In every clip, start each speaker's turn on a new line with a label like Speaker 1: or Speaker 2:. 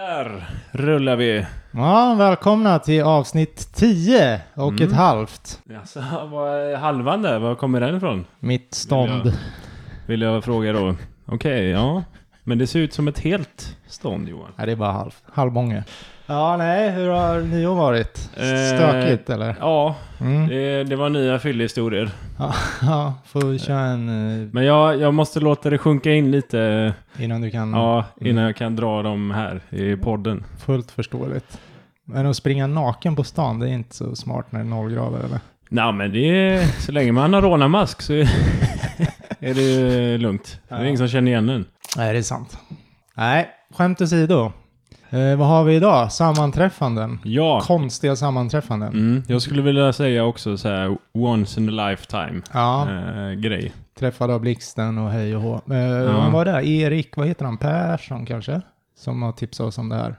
Speaker 1: Där rullar vi.
Speaker 2: Ja, välkomna till avsnitt 10 och
Speaker 1: Mm.
Speaker 2: ett halvt.
Speaker 1: Alltså, vad är halvan där? Var kommer den ifrån?
Speaker 2: Mitt stånd.
Speaker 1: Ja. Vill jag fråga då. Okej, ja. Men det ser ut som ett helt stånd Johan.
Speaker 2: Nej, det är bara halv, halvmånge. Ja, nej, hur har nyår varit?
Speaker 1: Eh,
Speaker 2: Stökigt eller?
Speaker 1: Ja,
Speaker 2: Mm.
Speaker 1: det, det var nya fyllehistorier.
Speaker 2: Ja, får vi köra en eh,
Speaker 1: Men jag, jag måste låta det sjunka in lite.
Speaker 2: innan du kan...
Speaker 1: Ja, innan jag kan dra dem här i podden.
Speaker 2: Fullt förståeligt. Men att springa naken på stan, det är inte så smart när det är noll grader eller?
Speaker 1: Nej, men det är, så länge man har rånarmask så är, är det ju lugnt. Det är
Speaker 2: Ja.
Speaker 1: ingen som känner igen den.
Speaker 2: Nej, det är sant. Nej, skämt åsido. Eh, vad har vi idag? Sammanträffanden.
Speaker 1: Ja.
Speaker 2: Konstiga sammanträffanden.
Speaker 1: Mm, jag skulle vilja säga också så här once in a lifetime
Speaker 2: Ja,
Speaker 1: eh, grej.
Speaker 2: Träffad av blixten och hej och hå. Eh, Han var där, Erik, vad heter han, Persson kanske? Som har tipsat oss om det här.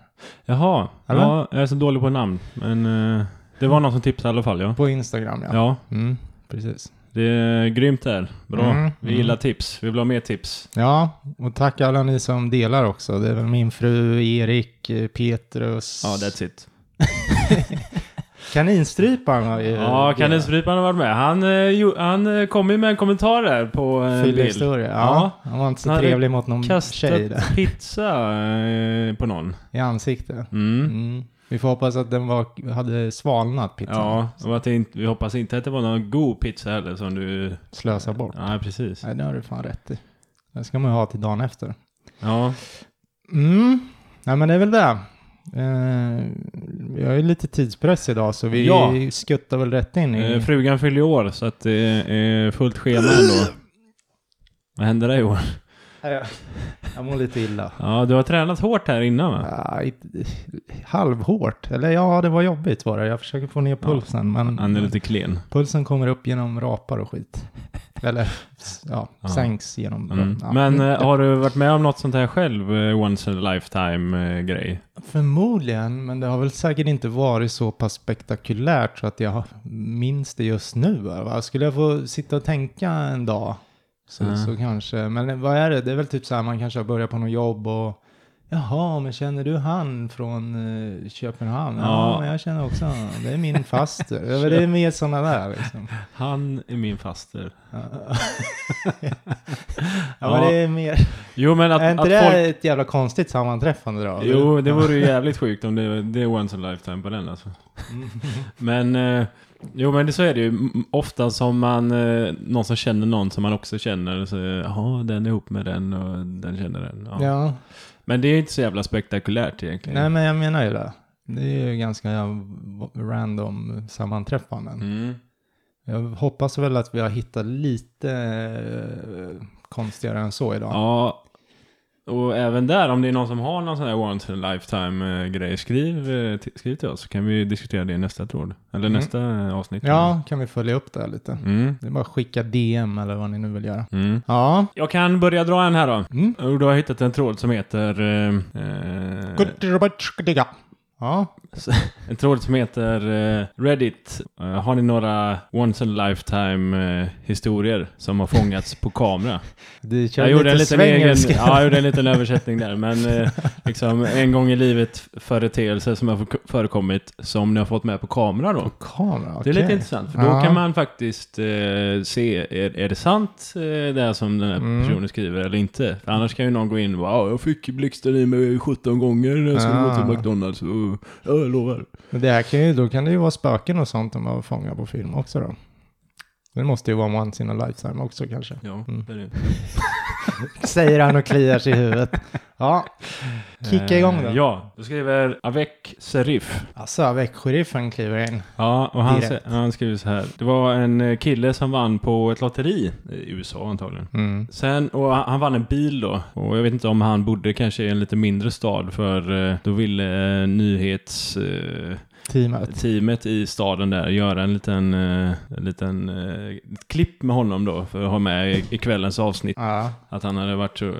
Speaker 1: Jaha,
Speaker 2: Eller?
Speaker 1: ja, jag är så dålig på namn. Men eh, det var någon som tipsade i alla fall ja.
Speaker 2: På Instagram ja.
Speaker 1: Ja,
Speaker 2: Mm, precis.
Speaker 1: det är grymt där. Bra.
Speaker 2: Mm,
Speaker 1: vi
Speaker 2: mm.
Speaker 1: gillar tips. Vi vill ha mer tips.
Speaker 2: Ja, och tack alla ni som delar också. Det är väl min fru, Erik, eh, Petrus.
Speaker 1: Ja, that's it.
Speaker 2: Kaninstryparen har ju...
Speaker 1: Ja, Kaninstryparen har varit med. Han, eh, jo, han eh, kom ju med en kommentar där på eh, en bild.
Speaker 2: Fyllehistoria. Ja, han var inte så
Speaker 1: Han hade
Speaker 2: trevlig mot någon tjej där.
Speaker 1: Kastat pizza eh, på någon.
Speaker 2: I ansiktet.
Speaker 1: Mm.
Speaker 2: Mm. Vi får hoppas att den var, hade svalnat pizzan.
Speaker 1: Ja, och att det inte, vi hoppas inte att det var någon god pizza heller som du...
Speaker 2: Slösa bort.
Speaker 1: Nej, precis.
Speaker 2: Nej, det har du fan rätt i. Den ska man ju ha till dagen efter.
Speaker 1: Ja.
Speaker 2: Mm, nej men det är väl det. Eh, jag är lite tidspress idag så vi
Speaker 1: Ja.
Speaker 2: skuttar väl rätt in i...
Speaker 1: Eh, frugan fyller ju år så att det är fullt schema ändå. Vad händer dig Johan?
Speaker 2: Nej, jag- jag mår lite illa.
Speaker 1: Ja, du har tränat hårt här innan va?
Speaker 2: Ah, inte- halvhårt, eller ja det var jobbigt var det. Jag försöker få ner pulsen
Speaker 1: Han är
Speaker 2: men
Speaker 1: lite klen.
Speaker 2: pulsen kommer upp genom rapar och skit. Eller s- ja,
Speaker 1: Ja.
Speaker 2: sänks genom...
Speaker 1: Mm.
Speaker 2: Ja.
Speaker 1: Men eh, har du varit med om något sånt här själv? eh, Once in a lifetime eh, grej?
Speaker 2: Förmodligen, men det har väl säkert inte varit så pass spektakulärt så att jag minns det just nu. Va? Skulle jag få sitta och tänka en dag så,
Speaker 1: Ja.
Speaker 2: så kanske. Men vad är det? Det är väl typ så här man kanske har börjat på något jobb och Jaha, men känner du han från eh, Köpenhamn? Ja,
Speaker 1: Ja.
Speaker 2: men jag känner också honom. Det är min faster. Ja, men det är mer sådana där liksom.
Speaker 1: Han är min faster.
Speaker 2: Ja, ja. men det är mer.
Speaker 1: Jo men att,
Speaker 2: är inte
Speaker 1: att
Speaker 2: det
Speaker 1: folk...
Speaker 2: ett jävla konstigt sammanträffande då?
Speaker 1: Jo, det vore ju jävligt sjukt om det, det är once in a lifetime på den alltså.
Speaker 2: Mm.
Speaker 1: Men, eh, jo men det, så är det ju. M- Ofta som man, eh, någon som känner någon som man också känner, så jaha, den är ihop med den och den känner den. Ja.
Speaker 2: ja.
Speaker 1: Men det är inte så jävla spektakulärt egentligen.
Speaker 2: Nej, men jag menar ju det. Det är ju ganska random sammanträffanden.
Speaker 1: Mm.
Speaker 2: Jag hoppas väl att vi har hittat lite eh, konstigare än så idag.
Speaker 1: Ja. Och även där, om det är någon som har någon sån här once in a lifetime eh, grej, skriv, eh, t- skriv till oss så kan vi diskutera det i nästa tråd. Eller
Speaker 2: Mm.
Speaker 1: nästa eh, avsnitt.
Speaker 2: Ja, kan vi följa upp det här lite?
Speaker 1: Mm.
Speaker 2: Det är bara att skicka DM eller vad ni nu vill göra.
Speaker 1: Mm.
Speaker 2: Ja.
Speaker 1: Jag kan börja dra en här då.
Speaker 2: Mm.
Speaker 1: Och då har jag hittat en tråd som heter... eh, Eh,
Speaker 2: Guttirubatschkdiga. Ja.
Speaker 1: en tråd som heter eh, Reddit. Eh, har ni några once in a lifetime eh, historier som har fångats på kamera?
Speaker 2: Du kör
Speaker 1: Jag gjorde, en
Speaker 2: lite
Speaker 1: liten egen,
Speaker 2: svengelska.
Speaker 1: ja, jag gjorde en liten översättning där, men eh, liksom en gång i livet företeelser som har fok- förekommit som ni har fått med på kamera då.
Speaker 2: Kamera,
Speaker 1: Det är lite
Speaker 2: okej.
Speaker 1: intressant, för då
Speaker 2: Ja.
Speaker 1: kan man faktiskt eh, se, är, är det sant eh, det här som den här
Speaker 2: Mm.
Speaker 1: personen skriver eller inte? För annars kan ju någon gå in, wow, jag fick blixten i mig 17 gånger när jag skulle gå
Speaker 2: Ah.
Speaker 1: till McDonalds, och, ja, jag lovar.
Speaker 2: Men det här kan ju, då kan det ju vara spöken och sånt de har fångat på film också då. Det måste ju vara once in a lifetime också kanske.
Speaker 1: Ja,
Speaker 2: Mm.
Speaker 1: det är det.
Speaker 2: Säger han och kliar sig i huvudet. Ja, kicka igång då.
Speaker 1: Eh, Ja, då skriver Avec Serif.
Speaker 2: Alltså, växtsheriffen kliver in.
Speaker 1: Ja, och han,
Speaker 2: Direkt.
Speaker 1: sä- han skriver så här. Det var en eh, kille som vann på ett lotteri i USA antagligen.
Speaker 2: Mm.
Speaker 1: Sen, och han han vann en bil då. Och jag vet inte om han bodde kanske i en lite mindre stad för eh, då ville nyhetsteamet
Speaker 2: Teamet.
Speaker 1: i staden där göra en liten, eh, en liten eh, ett klipp med honom då för att ha med i, i kvällens avsnitt.
Speaker 2: Ja,
Speaker 1: Att han hade varit så eh,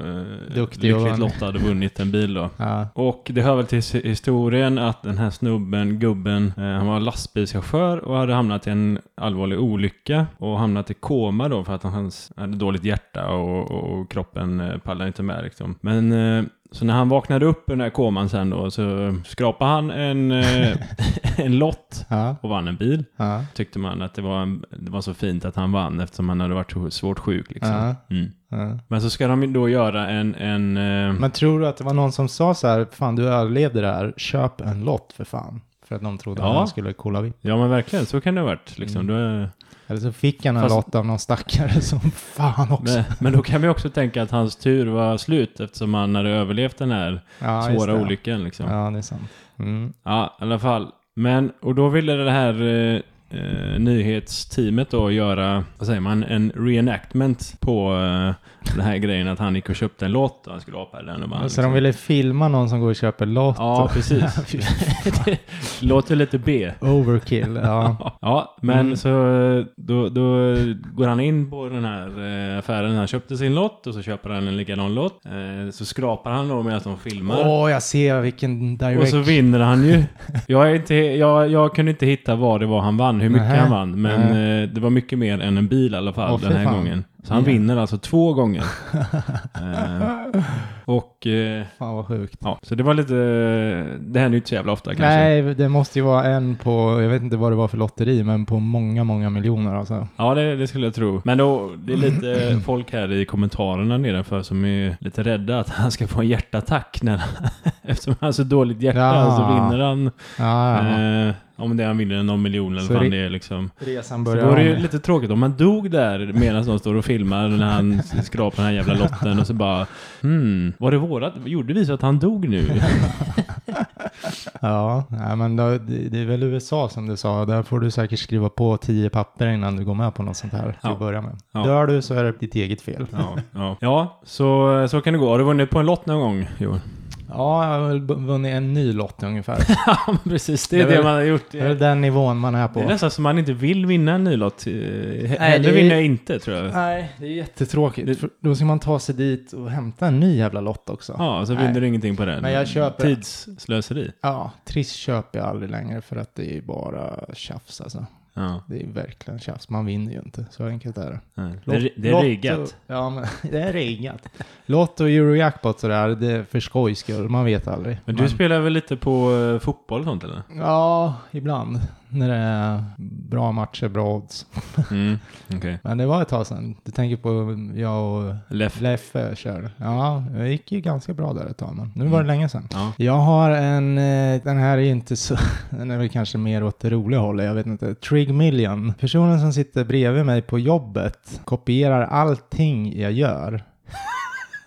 Speaker 2: Duktig och
Speaker 1: lyckligt
Speaker 2: vann.
Speaker 1: lottad och vunnit en bil då.
Speaker 2: ja.
Speaker 1: Och det hör väl till his- historien att den här snubben, gubben, eh, han var lastbilschaufför och hade hamnat i en allvarlig olycka och hamnat i koma då för att han hans- hade dåligt hjärta och, och, och kroppen eh, pallade inte med liksom. Men eh, Så när han vaknade upp ur den här koman sen då så skrapade han en, eh, en lott
Speaker 2: Ja,
Speaker 1: och vann en bil.
Speaker 2: ja,
Speaker 1: Tyckte man att det var, en, det var så fint att han vann eftersom han hade varit så svårt sjuk. Liksom.
Speaker 2: Ja.
Speaker 1: Mm.
Speaker 2: ja.
Speaker 1: Men så ska de ju då göra en... en eh,
Speaker 2: Men tror du att det var någon som sa så här, fan du överlevde det här, köp en lott för fan. För att de trodde
Speaker 1: Ja.
Speaker 2: att han skulle kolla vipp.
Speaker 1: ja men verkligen, så kan det ha varit. Liksom.
Speaker 2: Mm.
Speaker 1: Då är-
Speaker 2: Eller så fick han en
Speaker 1: Fast-
Speaker 2: lott av någon stackare som fan också.
Speaker 1: men, men då kan vi också tänka att hans tur var slut eftersom han hade överlevt den här
Speaker 2: ja, just
Speaker 1: svåra
Speaker 2: det.
Speaker 1: olyckan. Liksom.
Speaker 2: Ja, det är sant. Mm.
Speaker 1: Ja, i alla fall. Men, och då ville det här eh, eh, nyhetsteamet då göra, vad säger man, en reenactment på eh, den här grejen att han gick och köpte en lott och han skulle apa den och bara, liksom-
Speaker 2: Så de ville filma någon som går och köper lott.
Speaker 1: Ja,
Speaker 2: och-
Speaker 1: precis.
Speaker 2: Fy
Speaker 1: Det Låter lite B.
Speaker 2: Overkill, ja.
Speaker 1: Ja, men
Speaker 2: Mm.
Speaker 1: så eh, då, då går han in på den här eh, affären. Han köpte sin lott och så köper han en likadan lott. Eh, så skrapar han då medan de filmar.
Speaker 2: Åh, jag ser vilken direct.
Speaker 1: Och så vinner han ju. Jag, är inte, jag, jag kunde inte hitta vad det var han vann, hur mycket
Speaker 2: Nähä.
Speaker 1: han vann. Men
Speaker 2: Nej.
Speaker 1: eh, det var mycket mer än en bil i alla fall
Speaker 2: Åh, fy
Speaker 1: den här
Speaker 2: fan.
Speaker 1: gången. Så han
Speaker 2: Ja.
Speaker 1: vinner alltså två gånger. eh, och eh,
Speaker 2: Fan vad sjukt.
Speaker 1: ja, så det var lite... Det händer ju inte så jävla ofta kanske.
Speaker 2: Nej, det måste ju vara en på, jag vet inte vad det var för lotteri, men på många, många miljoner alltså.
Speaker 1: Ja, det, det skulle jag tro. Men då, det är lite folk här i kommentarerna nedanför som är lite rädda att han ska få en hjärtattack. När, eftersom han har så dåligt hjärta
Speaker 2: Ja.
Speaker 1: så vinner han.
Speaker 2: Ja, ja.
Speaker 1: Eh, om det är han vinner någon miljon eller
Speaker 2: Så
Speaker 1: vad fan
Speaker 2: ri-
Speaker 1: det är liksom.
Speaker 2: Resan
Speaker 1: Så
Speaker 2: börjar
Speaker 1: då är det ju
Speaker 2: om.
Speaker 1: lite tråkigt om han dog där medan de står och filmar när han skrapar den här jävla lotten och så bara hmm, var det vårat? Gjorde vi så att han dog nu?
Speaker 2: Ja, nej, men då, det det är väl USA som du sa, där får du säkert skriva på tio papper innan du går med på något sånt här till
Speaker 1: Ja.
Speaker 2: att börja med.
Speaker 1: Ja.
Speaker 2: Dör du så är det ditt eget fel. Ja,
Speaker 1: Ja, ja. ja så, så kan det gå. Har du vunnit på en lott någon gång? Jo.
Speaker 2: jag har väl b- vunnit en ny lott ungefär.
Speaker 1: Ja, men precis. Det är
Speaker 2: Det
Speaker 1: det,
Speaker 2: är väl-
Speaker 1: man har gjort.
Speaker 2: Det är den nivån man är
Speaker 1: Det är
Speaker 2: på.
Speaker 1: nästan som man inte vill vinna en ny lott. Eh, Hellre
Speaker 2: det är-
Speaker 1: vinner jag inte, tror jag.
Speaker 2: Nej, det är jättetråkigt. För Då ska man ta sig dit och hämta en ny jävla lott också.
Speaker 1: Ja, så
Speaker 2: Nej.
Speaker 1: vinner du ingenting på den.
Speaker 2: Men jag köper-
Speaker 1: Tidsslöseri.
Speaker 2: Ja, Triss köper jag aldrig längre för att det är bara tjafs alltså.
Speaker 1: Ja,
Speaker 2: Det är verkligen tjafs. Man vinner ju inte. Så enkelt är det.
Speaker 1: nej. det, är- det är
Speaker 2: Lotto-
Speaker 1: riggat.
Speaker 2: Ja, men det är riggat. Lotto och Eurojackpot sådär, det är för skojs skull. Man vet aldrig.
Speaker 1: Men du spelar väl lite på eh, fotboll och sånt, eller?
Speaker 2: Ja, ibland. När det är bra matcher, bra odds.
Speaker 1: Mm, okej.
Speaker 2: Men det var ett tag sedan. Du tänker på jag och
Speaker 1: Left.
Speaker 2: Leffe körde. Ja, det gick ju ganska bra där ett tag, men nu
Speaker 1: Mm.
Speaker 2: var det länge sedan.
Speaker 1: Ja.
Speaker 2: Jag har en, eh, den här är ju inte så, den är väl kanske mer åt det roliga hållet, jag vet inte. Trig Million. Personen som sitter bredvid mig på jobbet kopierar allting jag gör.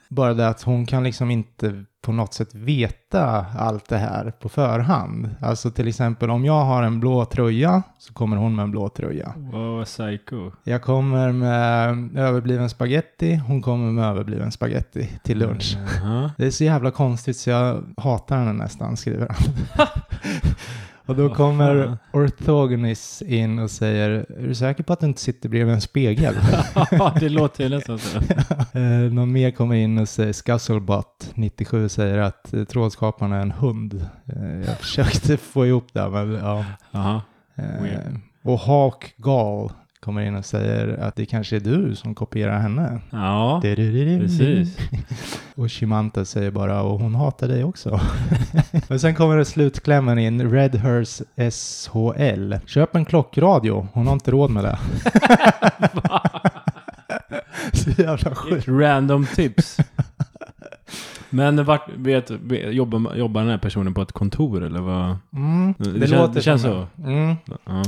Speaker 2: Bara det att hon kan liksom inte på något sätt veta allt det här på förhand. Alltså till exempel om jag har en blå tröja så kommer hon med en blå tröja.
Speaker 1: Wow, vad psycho.
Speaker 2: Jag kommer med överbliven spaghetti, hon kommer med överbliven spaghetti till lunch.
Speaker 1: Jaha.
Speaker 2: Det är så jävla konstigt så jag hatar henne nästan, skriver han. och då kommer ortogonis in och säger, är du säker på att du inte sitter bredvid en spegel?
Speaker 1: Ja, det låter ju nästan så.
Speaker 2: Eh, Någon mer kommer in och säger, Scuzzlebutt 97 säger att eh, trådskaparen är en hund. Eh, Jag försökte få ihop det, men ja.
Speaker 1: Jaha.
Speaker 2: Eh,
Speaker 1: Weird.
Speaker 2: Och Hawk Gall kommer in och säger att det kanske är du som kopierar henne.
Speaker 1: Ja,
Speaker 2: Du-du-du-du.
Speaker 1: precis.
Speaker 2: Och Shimanta säger bara och hon hatar dig också. och sen kommer det slutklämmen in, Redhurst SHL. Köp en klockradio, hon har inte råd med det. Så jävla sjukt.
Speaker 1: Ett Random tips. Men vart, vet, vet- jobbar, jobbar den här personen på ett kontor eller vad?
Speaker 2: Mm,
Speaker 1: Det, känns, det känns
Speaker 2: som
Speaker 1: så.
Speaker 2: det. Mm.
Speaker 1: Ja.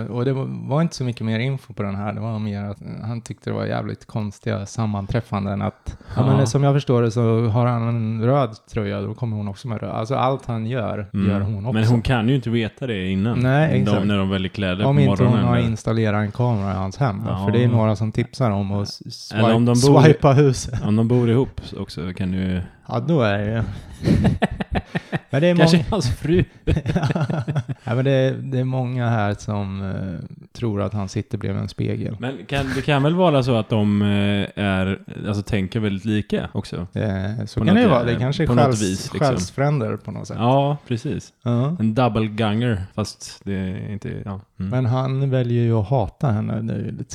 Speaker 2: Eh, och det var, var inte så mycket mer info på den här. Det var mer att eh, han tyckte det var jävligt konstiga sammanträffanden. Att, ja.
Speaker 1: Ja.
Speaker 2: men, eh, som jag förstår det så har han en röd tröja, då kommer hon också med röd. Alltså allt han gör,
Speaker 1: Mm.
Speaker 2: gör hon också.
Speaker 1: Men hon kan ju inte veta det innan.
Speaker 2: Nej,
Speaker 1: de,
Speaker 2: exakt.
Speaker 1: när de väljer kläder
Speaker 2: Om
Speaker 1: på
Speaker 2: inte hon
Speaker 1: morgonen.
Speaker 2: har
Speaker 1: där.
Speaker 2: installerat en kamera i hans hem. då,
Speaker 1: Ja.
Speaker 2: För det är några som tipsar om att s- swipe,
Speaker 1: Eller om de bor-
Speaker 2: swipa huset.
Speaker 1: Om de bor ihop också kan du...
Speaker 2: Ja, då är det ju... men det är
Speaker 1: Kanske
Speaker 2: många...
Speaker 1: hans fru.
Speaker 2: ja, men det, är, det är många här som eh, tror att han sitter bredvid en spegel.
Speaker 1: Men kan, det kan väl vara så att de eh, är, alltså tänker väldigt lika också?
Speaker 2: Eh, så
Speaker 1: På
Speaker 2: kan det ju
Speaker 1: något-
Speaker 2: vara. Det kanske är
Speaker 1: på något
Speaker 2: själs,
Speaker 1: vis, liksom.
Speaker 2: själsfränder på något sätt.
Speaker 1: Ja, precis.
Speaker 2: Ja.
Speaker 1: En double ganger, fast det är inte... Ja. Mm.
Speaker 2: Men han väljer ju att hata henne nu lite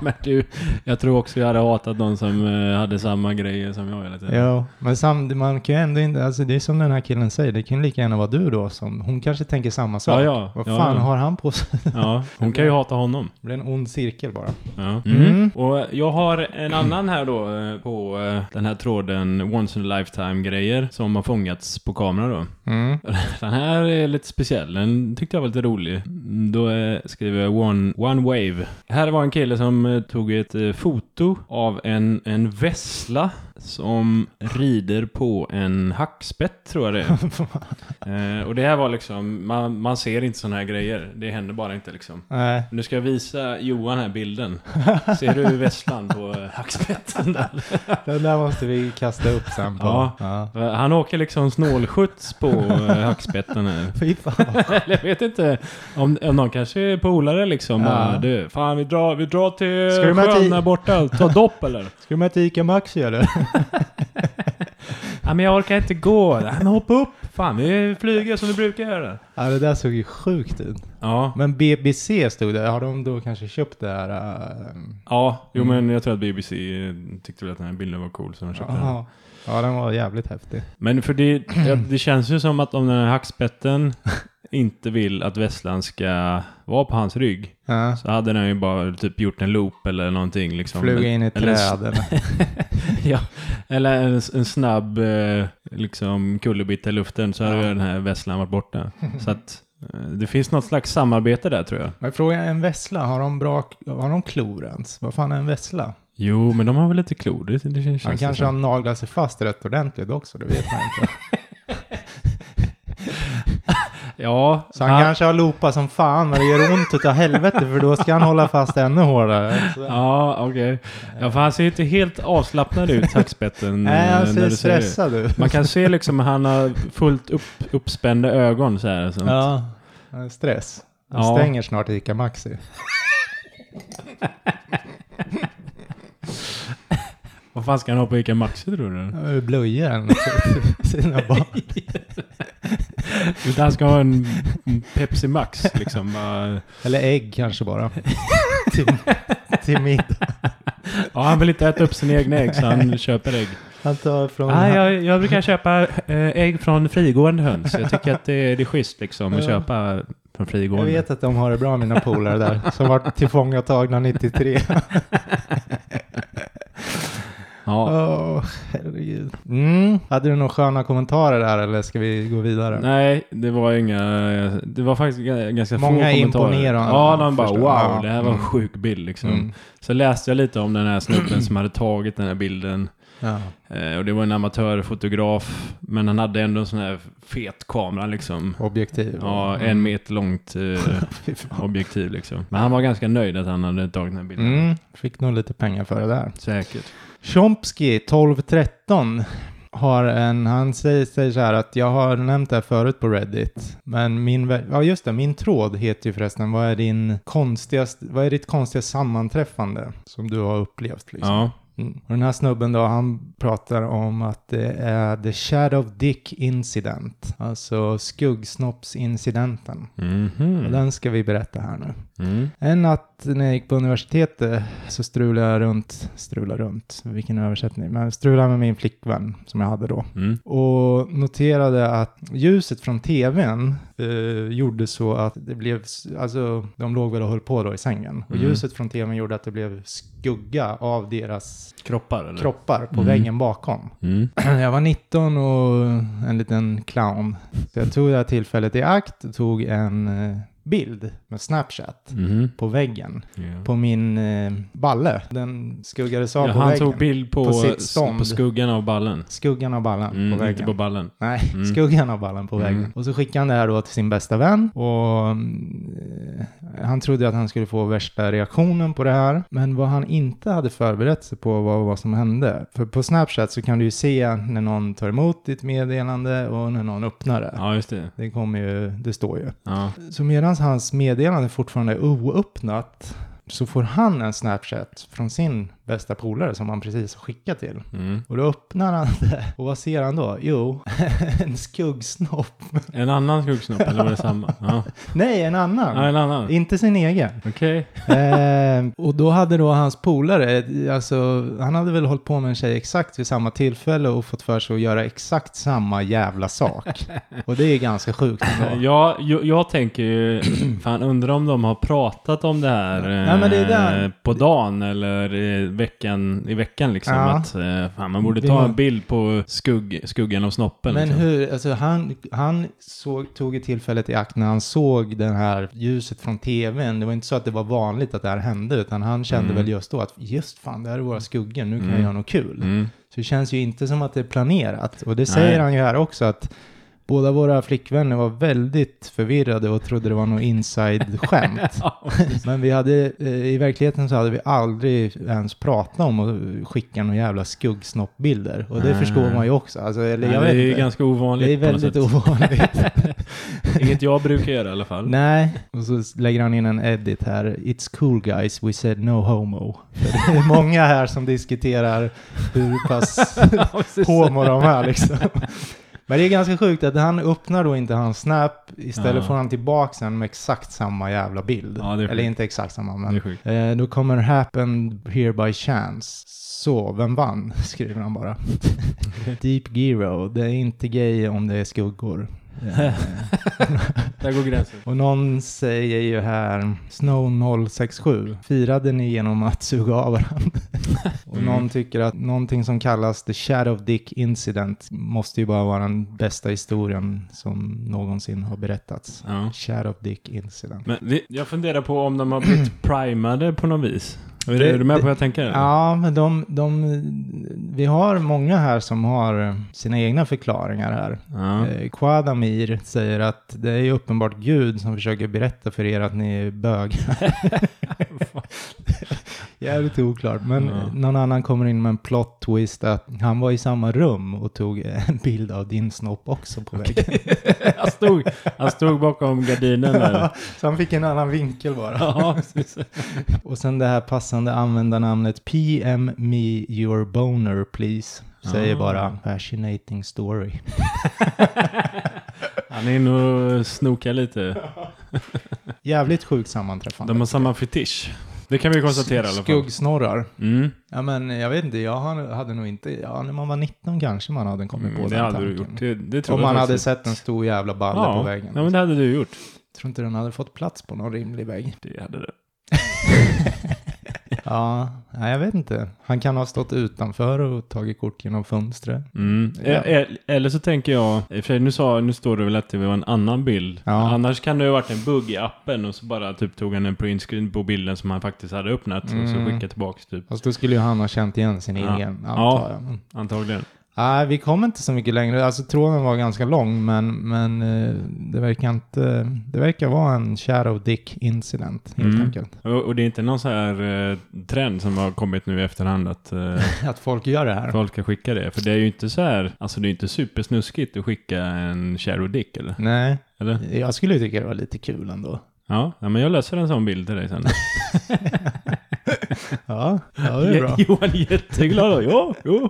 Speaker 1: men du, jag tror också jag hade hatat någon som eh, hade samma grejer som jag hela tiden.
Speaker 2: jo, men sam, man kan ju ändå inte, alltså det är som den här killen säger, det kan ju lika gärna vara du då som, hon kanske tänker samma sak.
Speaker 1: Ja, ja.
Speaker 2: Vad
Speaker 1: Ja,
Speaker 2: fan
Speaker 1: ja.
Speaker 2: har han på sig?
Speaker 1: Ja, hon kan ju hata honom.
Speaker 2: Det blir en ond cirkel bara.
Speaker 1: Ja.
Speaker 2: Mm.
Speaker 1: Och jag har en annan här då eh, på eh, den här tråden Once in a lifetime grejer som har fångats på kamera då.
Speaker 2: Mm.
Speaker 1: Den här är lite speciell, den tyckte jag var lite rolig. Mm, Då eh, skriver jag one, one Wave. Här var en kille som eh, tog ett eh, foto av en, en vessla som rider på en hackspett tror jag det är. Eh, och det här var liksom, man, man ser inte sådana här grejer. Det händer bara inte liksom.
Speaker 2: Nej.
Speaker 1: Nu ska jag visa Johan här bilden. Ser du vesslan på eh, hackspetten där?
Speaker 2: Den där måste vi kasta upp sen på.
Speaker 1: Ja.
Speaker 2: Ja.
Speaker 1: Eh, Han åker liksom snålskjuts på eh, hackspetten här.
Speaker 2: Fy fan.
Speaker 1: Eller jag vet inte. Om, om någon kanske är polare liksom.
Speaker 2: Ja.
Speaker 1: Bara, du, fan vi drar, vi drar till
Speaker 2: Ska du med
Speaker 1: sjön
Speaker 2: till-
Speaker 1: där borta. Ta dopp eller?
Speaker 2: Ska du med till Ica Maxi eller?
Speaker 1: Ja men jag orkar inte gå. Nej men hoppa upp. Fan vi flyger som vi brukar göra.
Speaker 2: Ja, det där såg ju sjukt ut.
Speaker 1: Ja.
Speaker 2: Men BBC stod det. Har de då kanske köpt det här? äh,
Speaker 1: Ja, jo men jag tror att BBC eh, tyckte väl att den här bilden var cool så de köpte den.
Speaker 2: ja. ja, den var jävligt häftig.
Speaker 1: Men för det, ja, det känns ju som att om den här hackspetten inte vill att vässlan ska vara på hans rygg
Speaker 2: Ja.
Speaker 1: så hade den ju bara typ gjort en loop eller någonting liksom.
Speaker 2: Flög in i ett
Speaker 1: eller-
Speaker 2: träd. Eller?
Speaker 1: Ja, eller en, en snabb eh, liksom kullerbytta i luften så hade
Speaker 2: Ja.
Speaker 1: den här vässlan varit borta. Så att eh, det finns något slags samarbete där tror jag.
Speaker 2: Men frågan är, en vessla, har de, bra, har de klor ens? Vad fan är en vessla?
Speaker 1: Jo, men de har väl lite klor. Det, det känns
Speaker 2: Han
Speaker 1: känns
Speaker 2: kanske
Speaker 1: så.
Speaker 2: har naglat sig fast rätt ordentligt också, det vet man inte.
Speaker 1: Ja,
Speaker 2: Så han kanske har loopat som fan, men det gör ont utav helvete för då ska han hålla fast ännu hårdare. Så-
Speaker 1: Ja, okej. Ja, för han ser ju inte helt avslappnad ut, hackspetten.
Speaker 2: Nej, han
Speaker 1: eh, när
Speaker 2: ser
Speaker 1: du säger det.
Speaker 2: stressad ut.
Speaker 1: Man kan se liksom att han har fullt upp, uppspända ögon så här. Så.
Speaker 2: Ja, han är stress. Han
Speaker 1: Ja. Mm.
Speaker 2: stänger snart Ica Maxi.
Speaker 1: Vad fan ska han ha på Ica Maxi tror du?
Speaker 2: Han har ju blöjor än för sina barn.
Speaker 1: Utan han ska ha en Pepsi Max liksom. bara-
Speaker 2: Eller ägg kanske bara. till, till middag.
Speaker 1: Ja, han vill inte äta upp sina egna ägg så han köper ägg.
Speaker 2: Han tar från...
Speaker 1: Nej, jag, jag brukar köpa eh, ägg från frigående höns. Jag tycker att det, är- det är schysst liksom att
Speaker 2: Ja.
Speaker 1: köpa från
Speaker 2: jag
Speaker 1: frigående.
Speaker 2: vet att de har det bra mina polare där. Som var tillfångatagna 93. Åh,
Speaker 1: Ja.
Speaker 2: herregud. Mm. Hade du några sköna kommentarer där eller ska vi gå vidare?
Speaker 1: Nej, det var inga... Det var faktiskt ga- ganska få
Speaker 2: Många
Speaker 1: kommentarer.
Speaker 2: är imponerande,
Speaker 1: Ja, de bara
Speaker 2: förstår
Speaker 1: wow,
Speaker 2: jag. Ja.
Speaker 1: det här var en
Speaker 2: Mm.
Speaker 1: sjuk bild liksom.
Speaker 2: Mm.
Speaker 1: Så läste jag lite om den här snubben som hade tagit den här bilden.
Speaker 2: Ja.
Speaker 1: Eh, och det var en amatörfotograf, men han hade ändå en sån här fet kamera liksom.
Speaker 2: Objektiv.
Speaker 1: Ja, en meter långt eh,
Speaker 2: Fy fan.
Speaker 1: objektiv liksom. Men han var ganska nöjd att han hade tagit den här bilden.
Speaker 2: Mm. Fick nog lite pengar för det där.
Speaker 1: Säkert.
Speaker 2: Chomsky, 1213, har en, han säger, säger så här att jag har nämnt det här förut på Reddit, men min, vä- ja just det, min tråd heter ju förresten vad är din konstigaste, vad är ditt konstigaste sammanträffande som du har upplevt liksom?
Speaker 1: Ja.
Speaker 2: Mm. Och den här snubben då, han pratar om att det är the shadow dick incident, alltså skuggsnoppsincidenten. Och
Speaker 1: Mhm.
Speaker 2: den ska vi berätta här nu.
Speaker 1: Mm.
Speaker 2: En natt när jag gick på universitetet så strulade jag runt, strulade runt, vilken översättning, men strulade med min flickvän som jag hade då.
Speaker 1: Mm.
Speaker 2: Och noterade att ljuset från tvn eh, gjorde så att det blev, s- alltså de låg väl och höll på då i sängen. Och
Speaker 1: Mm.
Speaker 2: ljuset från tvn gjorde att det blev skugga av deras
Speaker 1: Kroppar eller?
Speaker 2: kroppar på
Speaker 1: Mm.
Speaker 2: väggen bakom.
Speaker 1: Mm.
Speaker 2: Jag var 19 och en liten clown. Så jag tog det här tillfället i akt och tog en eh, bild med Snapchat
Speaker 1: Mhm.
Speaker 2: på väggen
Speaker 1: Ja.
Speaker 2: på min eh, balle. Den skuggades av
Speaker 1: Ja,
Speaker 2: på
Speaker 1: han
Speaker 2: väggen.
Speaker 1: tog bild på,
Speaker 2: På sitt
Speaker 1: s-
Speaker 2: stånd.
Speaker 1: på skuggan av ballen.
Speaker 2: Skuggan av ballen på
Speaker 1: Mm, inte
Speaker 2: väggen.
Speaker 1: på ballen.
Speaker 2: Nej,
Speaker 1: Mm.
Speaker 2: skuggan av ballen på
Speaker 1: Mm.
Speaker 2: väggen. Och så skickade han det här då till sin bästa vän. Och mm, eh, han trodde att han skulle få värsta reaktionen på det här. Men vad han inte hade förberett sig på var vad som hände. För på Snapchat så kan du ju se när någon tar emot ditt meddelande och när någon öppnar det.
Speaker 1: Ja, just det.
Speaker 2: Det kommer ju, det står ju.
Speaker 1: Ja.
Speaker 2: Så medan hans meddelande fortfarande är oöppnat Så får han en Snapchat från sin bästa polare som han precis har skickat till.
Speaker 1: Mm.
Speaker 2: Och då öppnar han det. Och vad ser han då? Jo, en skuggsnopp.
Speaker 1: En annan kuggsnopp, eller var det samma? Ja,
Speaker 2: Nej, en annan.
Speaker 1: ja en annan.
Speaker 2: Inte sin egen.
Speaker 1: Okej.
Speaker 2: eh, och då hade då hans polare, alltså han hade väl hållit på med en tjej exakt vid samma tillfälle och fått för sig att göra exakt samma jävla sak. och det är ganska sjukt ändå.
Speaker 1: Ja, Eh, jag, jag tänker ju, fan undrar om de har pratat om det här eh,
Speaker 2: Nej, men det är där-
Speaker 1: på dagen eller i veckan, i veckan liksom.
Speaker 2: Ja.
Speaker 1: Att eh, fan, man borde
Speaker 2: Det
Speaker 1: ta
Speaker 2: var-
Speaker 1: en bild på skugg, skuggan av snoppen.
Speaker 2: Men
Speaker 1: liksom.
Speaker 2: hur, alltså han, han såg, tog ju tillfället i akt när han såg det här ljuset från tvn. Det var inte så att det var vanligt att det här hände, utan han kände
Speaker 1: Mm.
Speaker 2: väl just då att just fan, det här är våra skuggor, nu kan
Speaker 1: Mm.
Speaker 2: jag göra något kul.
Speaker 1: Mm.
Speaker 2: Så det känns ju inte som att det är planerat. Och det säger
Speaker 1: Nej.
Speaker 2: han ju här också att båda våra flickvänner var väldigt förvirrade och trodde det var något inside-skämt. Men vi hade, eh, i verkligheten så hade vi aldrig ens pratat om att skicka några jävla skuggsnoppbilder. Och det
Speaker 1: Nej.
Speaker 2: förstår man ju också. Alltså, eller, jag
Speaker 1: Nej, det är
Speaker 2: vet
Speaker 1: ju
Speaker 2: inte.
Speaker 1: ganska ovanligt
Speaker 2: Det är
Speaker 1: på något
Speaker 2: väldigt
Speaker 1: sätt.
Speaker 2: ovanligt.
Speaker 1: Inget jag brukar göra i alla fall.
Speaker 2: Nej, och så lägger han in en edit här. It's cool guys, we said no homo. För det är många här som diskuterar hur pass
Speaker 1: Ja, precis.
Speaker 2: homo de är liksom. Men det är ganska sjukt att han öppnar då inte hans Snap, istället
Speaker 1: Ja.
Speaker 2: får han tillbaka den med exakt samma jävla bild.
Speaker 1: Ja, det är sjukt.
Speaker 2: Eller inte exakt samma,
Speaker 1: Det är
Speaker 2: men
Speaker 1: sjukt.
Speaker 2: eh, då kommer happen here by chance. Så, vem vann? skriver han bara. Deep Giro, det är inte gay om det är skuggor. Eh,
Speaker 1: Där går gränsen.
Speaker 2: och någon säger ju här, Snow 067, firade ni genom att suga av varandra? och
Speaker 1: Mm.
Speaker 2: någon tycker att någonting som kallas the shadow dick incident måste ju bara vara den bästa historien som någonsin har berättats.
Speaker 1: Ja.
Speaker 2: Shadow dick incident.
Speaker 1: Men det, jag funderar på om de har blivit primade på något vis. Är,
Speaker 2: Det-
Speaker 1: det, är du med
Speaker 2: det-
Speaker 1: på vad jag tänker? eller?
Speaker 2: Ja, men de, de, vi har många här som har sina egna förklaringar här.
Speaker 1: Ja.
Speaker 2: Eh, Quadamir säger att det är ju uppenbart Gud som försöker berätta för er att ni är bögar. Eh, Jävligt oklart, men
Speaker 1: Ja.
Speaker 2: någon annan kommer in med en plot twist att han var i samma rum och tog en bild av din snopp också på väggen.
Speaker 1: Han, stod, han stod bakom gardinen där.
Speaker 2: Så han fick en annan vinkel bara.
Speaker 1: Ja, precis.
Speaker 2: Och sen det här passande användarnamnet PM me your boner please. Säger
Speaker 1: Ah.
Speaker 2: bara fascinating story.
Speaker 1: Han är inne och snokar lite.
Speaker 2: Jävligt sjukt sammanträffande.
Speaker 1: De har samma fetisch. Det kan vi konstatera i alla fall.
Speaker 2: Skuggsnorrar.
Speaker 1: Mm.
Speaker 2: Ja men jag vet inte, jag har- hade nog inte, ja när man var 19 kanske man hade kommit på
Speaker 1: Mm, det
Speaker 2: den
Speaker 1: hade du
Speaker 2: tanken.
Speaker 1: gjort. Det, det tror
Speaker 2: Om
Speaker 1: jag
Speaker 2: man hade
Speaker 1: faktiskt.
Speaker 2: sett en stor jävla balle
Speaker 1: ja.
Speaker 2: på väggen.
Speaker 1: Ja, men det hade du gjort.
Speaker 2: Tror inte den hade fått plats på någon rimlig vägg.
Speaker 1: Det hade det.
Speaker 2: Ja, nej, jag vet inte. Han kan ha stått utanför och tagit kort genom fönstret.
Speaker 1: Mm.
Speaker 2: Ja.
Speaker 1: E- e- Eller så tänker jag, i och för sig, nu, sa, nu står det väl att det var en annan bild.
Speaker 2: Ja.
Speaker 1: Annars kan det ha varit en bugg i appen och så bara typ tog han en printscreen på bilden som han faktiskt hade öppnat och så
Speaker 2: Mm.
Speaker 1: skickade tillbaka typ.
Speaker 2: Fast då skulle ju han ha känt igen sin
Speaker 1: Ja.
Speaker 2: egen,
Speaker 1: Ja.
Speaker 2: antar jag. Men-
Speaker 1: Antagligen.
Speaker 2: Nej, vi kom inte så mycket längre. Alltså tråden var ganska lång, men, men eh, det verkar inte... Det verkar vara en shadow dick incident, helt
Speaker 1: Mm.
Speaker 2: enkelt.
Speaker 1: Och, och det är inte någon så här eh, trend som har kommit nu i efterhand att eh,
Speaker 2: Att folk gör det här.
Speaker 1: folk ska skicka det. För det är ju inte så här, alltså det är ju inte supersnuskigt att skicka en share och dick eller?
Speaker 2: Nej,
Speaker 1: eller?
Speaker 2: jag skulle ju tycka det var lite kul ändå.
Speaker 1: Ja, ja, men jag löser en sån bild till dig sen.
Speaker 2: Ja, ja det är bra.
Speaker 1: Johan är jätteglad. då. Ja, jo.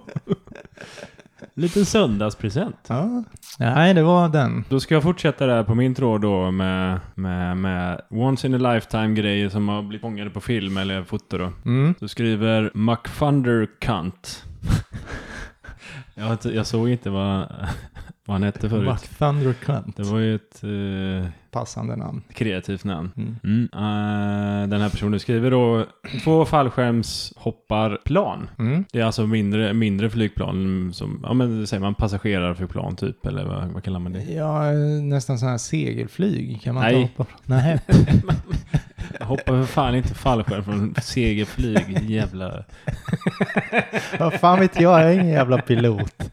Speaker 1: Liten söndagspresent.
Speaker 2: Ja. Nej, det var den.
Speaker 1: Då ska jag fortsätta där på min tråd då med, med, med once in a lifetime grejer som har blivit fångade på film eller foto då.
Speaker 2: Mm.
Speaker 1: Så skriver McFunder Cunt. jag, har inte- jag såg inte vad, vad han hette förut.
Speaker 2: Mac Thunder Cunt.
Speaker 1: det var ju ett eh,
Speaker 2: Passande namn.
Speaker 1: kreativt namn.
Speaker 2: Mm.
Speaker 1: Mm. Eh, den här personen skriver då två fallskärmshopparplan.
Speaker 2: Mm.
Speaker 1: Det är alltså mindre, mindre flygplan som, ja men säger man passagerarflygplan typ eller vad, vad kallar man det?
Speaker 2: Ja, eh, nästan sådana här segelflyg. Kan man
Speaker 1: Nej.
Speaker 2: ta hoppa? Nej.
Speaker 1: Hoppa för fan inte fallskärm från segerflyg, jävla...
Speaker 2: Vad fan vet jag? Jag är ingen jävla pilot.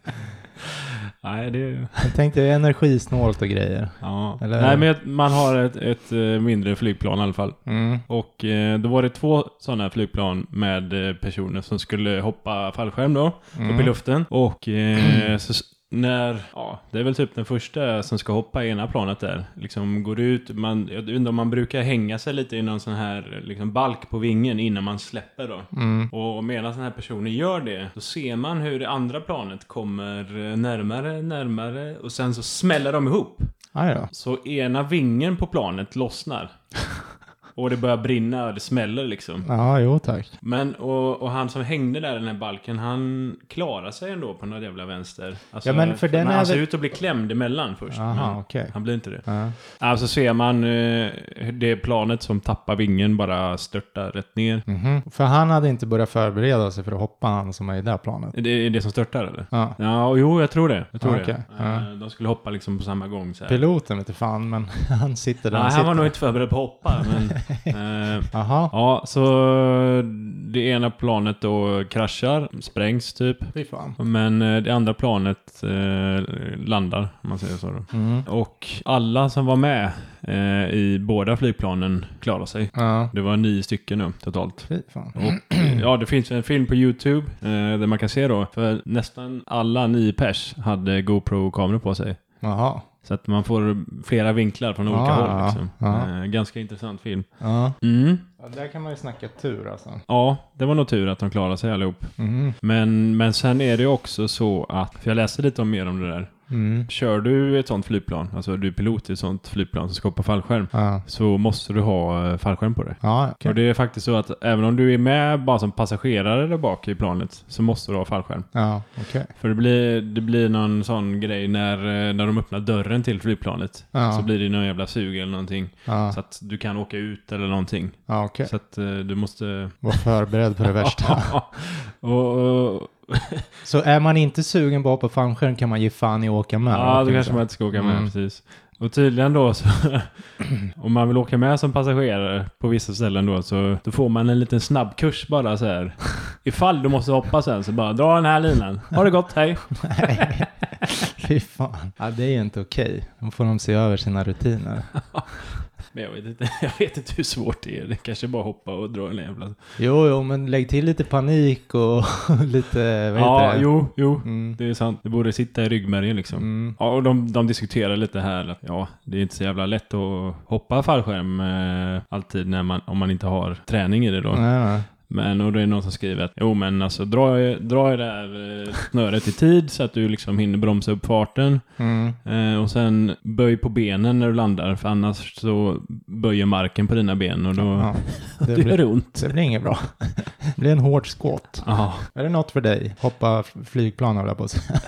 Speaker 1: Nej, det är...
Speaker 2: Jag tänkte energisnålt och grejer.
Speaker 1: Ja.
Speaker 2: Eller-
Speaker 1: Nej, men ett- man har ett, ett eh, mindre flygplan i alla fall.
Speaker 2: Mm.
Speaker 1: Och eh, då var det två sådana flygplan
Speaker 2: Mm.
Speaker 1: med eh, personer som skulle hoppa fallskärm då, upp i luften. Och eh, så s- när, ja, det är väl typ den första som ska hoppa i ena planet där, liksom går ut, man, jag undrar om man brukar hänga sig lite i någon sån här liksom balk på vingen innan man släpper då.
Speaker 2: Mm.
Speaker 1: Och medan den här personen gör det, då ser man hur det andra planet kommer eh, närmare, närmare och sen så smäller de ihop.
Speaker 2: Aj då.
Speaker 1: Så ena vingen på planet lossnar. Och det börjar brinna och det smäller liksom.
Speaker 2: Ja, jo tack.
Speaker 1: Men och, och han som hängde där i den här balken, han klarar sig ändå på något jävla vänster. Alltså,
Speaker 2: Ja, men för den är
Speaker 1: han ser
Speaker 2: väl-
Speaker 1: ut att bli klämd emellan först.
Speaker 2: Aha,
Speaker 1: men
Speaker 2: okej.
Speaker 1: Han blir inte det.
Speaker 2: Ja.
Speaker 1: Alltså ser man eh, hur det planet som tappar vingen bara störtar rätt ner.
Speaker 2: Mhm. För han hade inte börjat förbereda sig för att hoppa han som är i det här planet.
Speaker 1: Är Det är det som störtar eller?
Speaker 2: Ja.
Speaker 1: Ja, och jo jag tror det. Jag tror
Speaker 2: Ja, okej.
Speaker 1: det. Eh, De skulle hoppa liksom på samma gång så här.
Speaker 2: Piloten vet inte fan, men han sitter där
Speaker 1: Nej,
Speaker 2: han
Speaker 1: han
Speaker 2: sitter.
Speaker 1: var nog inte förberedd på att hoppa. Men, eh,
Speaker 2: Aha.
Speaker 1: ja, så det ena planet då kraschar, sprängs typ.
Speaker 2: Fy fan.
Speaker 1: Men eh, det andra planet eh, landar, om man säger så. Då.
Speaker 2: Mm.
Speaker 1: Och alla som var med eh, i båda flygplanen klarade sig.
Speaker 2: Ja. Mm.
Speaker 1: Det var nio stycken nu totalt.
Speaker 2: Fy fan.
Speaker 1: Och, eh, ja, det finns en film på YouTube eh, där man kan se då, för nästan alla nio pers hade GoPro-kameror på sig.
Speaker 2: Jaha.
Speaker 1: Så att man får flera vinklar från olika
Speaker 2: Ah,
Speaker 1: håll. Liksom.
Speaker 2: ah.
Speaker 1: Eh, ganska intressant film.
Speaker 2: Ja.
Speaker 1: Mm.
Speaker 2: ja. Där kan man ju snacka tur alltså.
Speaker 1: Ja, det var nog tur att de klarade sig allihop.
Speaker 2: Mm.
Speaker 1: Men, men sen är det ju också så att, för jag läste lite om mer om det där.
Speaker 2: Mm.
Speaker 1: Kör du ett sånt flygplan, alltså du är pilot i ett sånt flygplan som ska hoppa fallskärm,
Speaker 2: Ja.
Speaker 1: så måste du ha eh, fallskärm på dig.
Speaker 2: Ja, okej.
Speaker 1: Och det är faktiskt så att även om du är med bara som passagerare där bak i planet så måste du ha fallskärm.
Speaker 2: Ja, okej.
Speaker 1: För det blir, det blir någon sån grej när, eh, när de öppnar dörren till flygplanet.
Speaker 2: Ja.
Speaker 1: Så blir det någon jävla sug eller någonting.
Speaker 2: Ja,
Speaker 1: Så att du kan åka ut eller någonting.
Speaker 2: ja okej.
Speaker 1: Så att eh, du måste...
Speaker 2: Var förberedd på det värsta.
Speaker 1: och, och,
Speaker 2: Så är man inte sugen på att hoppa fallskärm kan man ge fan i att åka med.
Speaker 1: Ja, då kanske man inte ska åka med,
Speaker 2: Mm.
Speaker 1: precis. Och tydligen då så, om man vill åka med som passagerare på vissa ställen då, så då får man en liten snabbkurs bara så här. Ifall du måste hoppa sen så bara dra den här linan. Ha det gott, hej!
Speaker 2: Nej. Fy fan. Ja, det är ju inte okej. Då får de se över sina rutiner.
Speaker 1: Men jag vet inte, jag vet inte hur svårt det är. Det kanske bara hoppa och dra en jävla...
Speaker 2: Jo, jo, men lägg till lite panik och lite, vad heter
Speaker 1: Ja,
Speaker 2: det?
Speaker 1: jo, jo.
Speaker 2: Mm.
Speaker 1: Det är sant. Det borde sitta i ryggmärgen liksom.
Speaker 2: Mm.
Speaker 1: Ja, och de, de diskuterar lite här att ja, det är inte så jävla lätt att hoppa fallskärm eh, alltid när man, om man inte har träning i det då.
Speaker 2: Nej, nej.
Speaker 1: Men och då är det någon som skriver att jo men alltså dra, i- dra i det här eh, snöret i tid så att du liksom hinner bromsa upp farten.
Speaker 2: Mm.
Speaker 1: Eh, och sen böj på benen när du landar för annars så böjer marken på dina ben och då
Speaker 2: Ja, det,
Speaker 1: det
Speaker 2: blir,
Speaker 1: gör ont.
Speaker 2: det blir inget bra. Det blir en hård skåt.
Speaker 1: Ja,
Speaker 2: Är det något för dig? Hoppa f- flygplan höll jag på att säga.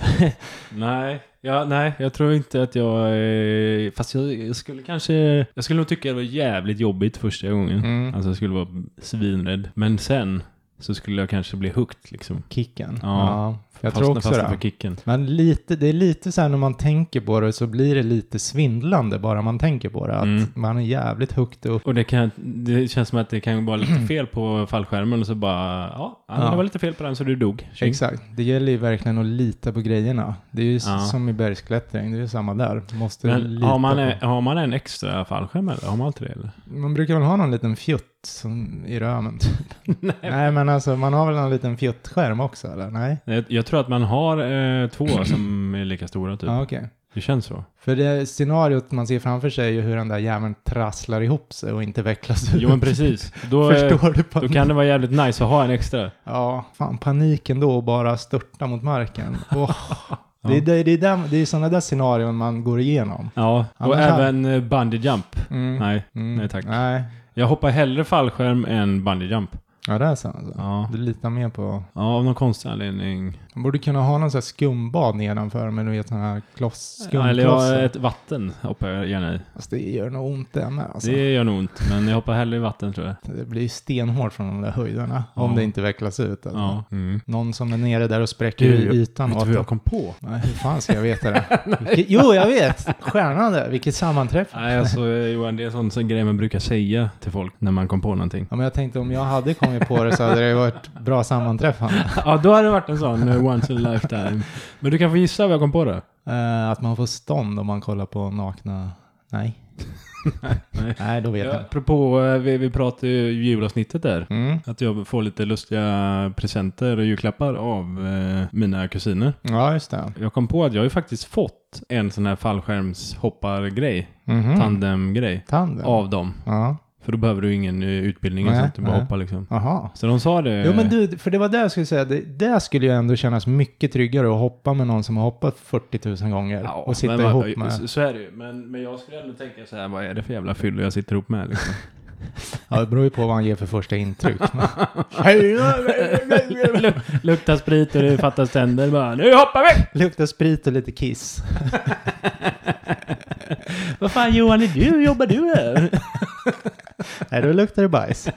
Speaker 1: nej. Ja, nej, jag tror inte att jag... eh, Fast jag, jag skulle kanske... Jag skulle nog tycka det var jävligt jobbigt första gången.
Speaker 2: Mm.
Speaker 1: Alltså jag skulle vara svinrädd. Men sen så skulle jag kanske bli hooked liksom.
Speaker 2: Kicken.
Speaker 1: Ja.
Speaker 2: Ja, jag tror också
Speaker 1: fastna
Speaker 2: det.
Speaker 1: för kicken.
Speaker 2: Men lite, det är lite så här när man tänker på det så blir det lite svindlande bara man tänker på det. Att
Speaker 1: Mm.
Speaker 2: man är jävligt högt upp.
Speaker 1: Och det, kan, det känns som att det kan vara lite fel på fallskärmen och så bara, ja, ja,
Speaker 2: Ja.
Speaker 1: det var lite fel på den så du dog. Tjing.
Speaker 2: Exakt. Det gäller ju verkligen att lita på grejerna. Det är ju s-
Speaker 1: Ja.
Speaker 2: som i bergsklättring, det är ju samma där. Måste
Speaker 1: Men
Speaker 2: lita
Speaker 1: har man,
Speaker 2: på.
Speaker 1: en, har man en extra fallskärm eller? Har man inte det eller?
Speaker 2: Man brukar väl ha någon liten fjutt som i röven typ. Nej. men alltså man har väl en liten fjuttskärm också eller? Nej?
Speaker 1: Nej, Jag, jag tror att man har eh, två som är lika stora typ.
Speaker 2: Ja okej.
Speaker 1: Det känns så.
Speaker 2: För det scenariot man ser framför sig är ju hur den där jäveln trasslar ihop sig och inte vecklas ut.
Speaker 1: Jo men precis. Då, eh,
Speaker 2: Förstår du?
Speaker 1: då
Speaker 2: Panik?
Speaker 1: kan det vara jävligt nice att ha en extra.
Speaker 2: Ja, fan paniken då och bara störta mot marken. Åh. Det är, det, det, är där, det är sådana där scenarion man går igenom.
Speaker 1: Ja, och
Speaker 2: Annars hade-
Speaker 1: även eh, bungee jump.
Speaker 2: Mm.
Speaker 1: Nej,
Speaker 2: Mm.
Speaker 1: nej tack.
Speaker 2: Nej,
Speaker 1: Jag hoppar hellre fallskärm än bungee jump.
Speaker 2: ja det är så alltså.
Speaker 1: Ja.
Speaker 2: Du litar mer på...
Speaker 1: ja, av någon konstig anledning.
Speaker 2: Man borde kunna ha någon sån här skumbad nedanför med du vet sådana här kloss,
Speaker 1: Ja, eller ja,
Speaker 2: skumklossar.
Speaker 1: ett vatten hoppar jag gärna i.
Speaker 2: Fast det gör nog ont det med alltså. det...
Speaker 1: Det gör nog ont, men jag hoppar hellre i vatten tror jag.
Speaker 2: blir ju stenhårt från de där höjderna.
Speaker 1: Ja.
Speaker 2: Om det inte vecklas ut. Alltså.
Speaker 1: Ja. Mm.
Speaker 2: Någon som är nere där och spräcker
Speaker 1: Du,
Speaker 2: i ytan.
Speaker 1: Vet du
Speaker 2: åt
Speaker 1: vad
Speaker 2: dem.
Speaker 1: jag kom på?
Speaker 2: Nej, hur fan ska jag veta det? Vilket, jo, jag vet! Stjärnan där, vilket sammanträffande.
Speaker 1: Nej, alltså eh, Johan, det är sån sån grej man brukar säga till folk när man kom på någonting.
Speaker 2: Ja, men jag tänkte om jag hade kommit på det så hade det varit bra sammanträffande.
Speaker 1: ja, då hade det varit en sån eh, once in a lifetime. Men du kan få gissa vad jag kom på då.
Speaker 2: Eh, att man får stånd om man kollar på nakna... Nej. Nej, då vet
Speaker 1: Ja,
Speaker 2: jag.
Speaker 1: apropå, eh, vi, vi pratade ju julavsnittet där.
Speaker 2: Mm.
Speaker 1: Att jag får lite lustiga presenter och julklappar av eh, mina kusiner.
Speaker 2: Ja, just det.
Speaker 1: Jag kom på att jag har ju faktiskt fått en sån här fallskärmshoppargrej,
Speaker 2: Mhm.
Speaker 1: tandemgrej,
Speaker 2: Tanden?
Speaker 1: av dem.
Speaker 2: Ja.
Speaker 1: För då behöver du ingen eh, utbildning och
Speaker 2: Nej,
Speaker 1: sånt, du bara
Speaker 2: nej.
Speaker 1: hoppar liksom.
Speaker 2: Jaha.
Speaker 1: Så de sa det.
Speaker 2: Jo men du, för det var det jag skulle säga. Det, där skulle ju ändå kännas mycket tryggare att hoppa med någon som har hoppat 40 000 gånger
Speaker 1: Ja,
Speaker 2: och sitta
Speaker 1: men vad-
Speaker 2: ihop med.
Speaker 1: Så, så är det ju. Men, men jag skulle ändå tänka så här, vad är det för jävla fyllo jag sitter ihop med liksom?
Speaker 2: Ja, det beror ju på vad han ger för första intryck. men-
Speaker 1: Luk- Luktar sprit och det fattas tänder bara, nu hoppar vi!
Speaker 2: Luktar sprit och lite kiss.
Speaker 1: Vad fan Johan, är du? jobbar du här?
Speaker 2: Nej, då luktar det bajs.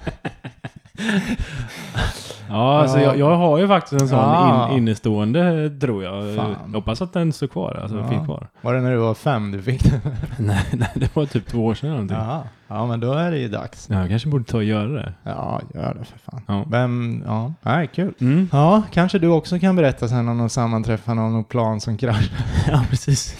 Speaker 1: Ja, så
Speaker 2: Ja.
Speaker 1: jag, jag har ju faktiskt en sån
Speaker 2: Ja.
Speaker 1: in, innestående tror jag.
Speaker 2: Fan.
Speaker 1: Jag hoppas att den står kvar, alltså
Speaker 2: Ja.
Speaker 1: finns kvar.
Speaker 2: Var det när du var fem du fick den?
Speaker 1: Nej, nej, det var typ två år sedan eller någonting. Ja.
Speaker 2: Jaha. Ja, men då är det ju dags.
Speaker 1: jag kanske borde ta och göra det.
Speaker 2: Ja, gör det för fan.
Speaker 1: Ja.
Speaker 2: Vem, ja. Nej, kul.
Speaker 1: Mm.
Speaker 2: Ja, kanske du också kan berätta sen om något sammanträffande om något plan som kraschar.
Speaker 1: ja, precis.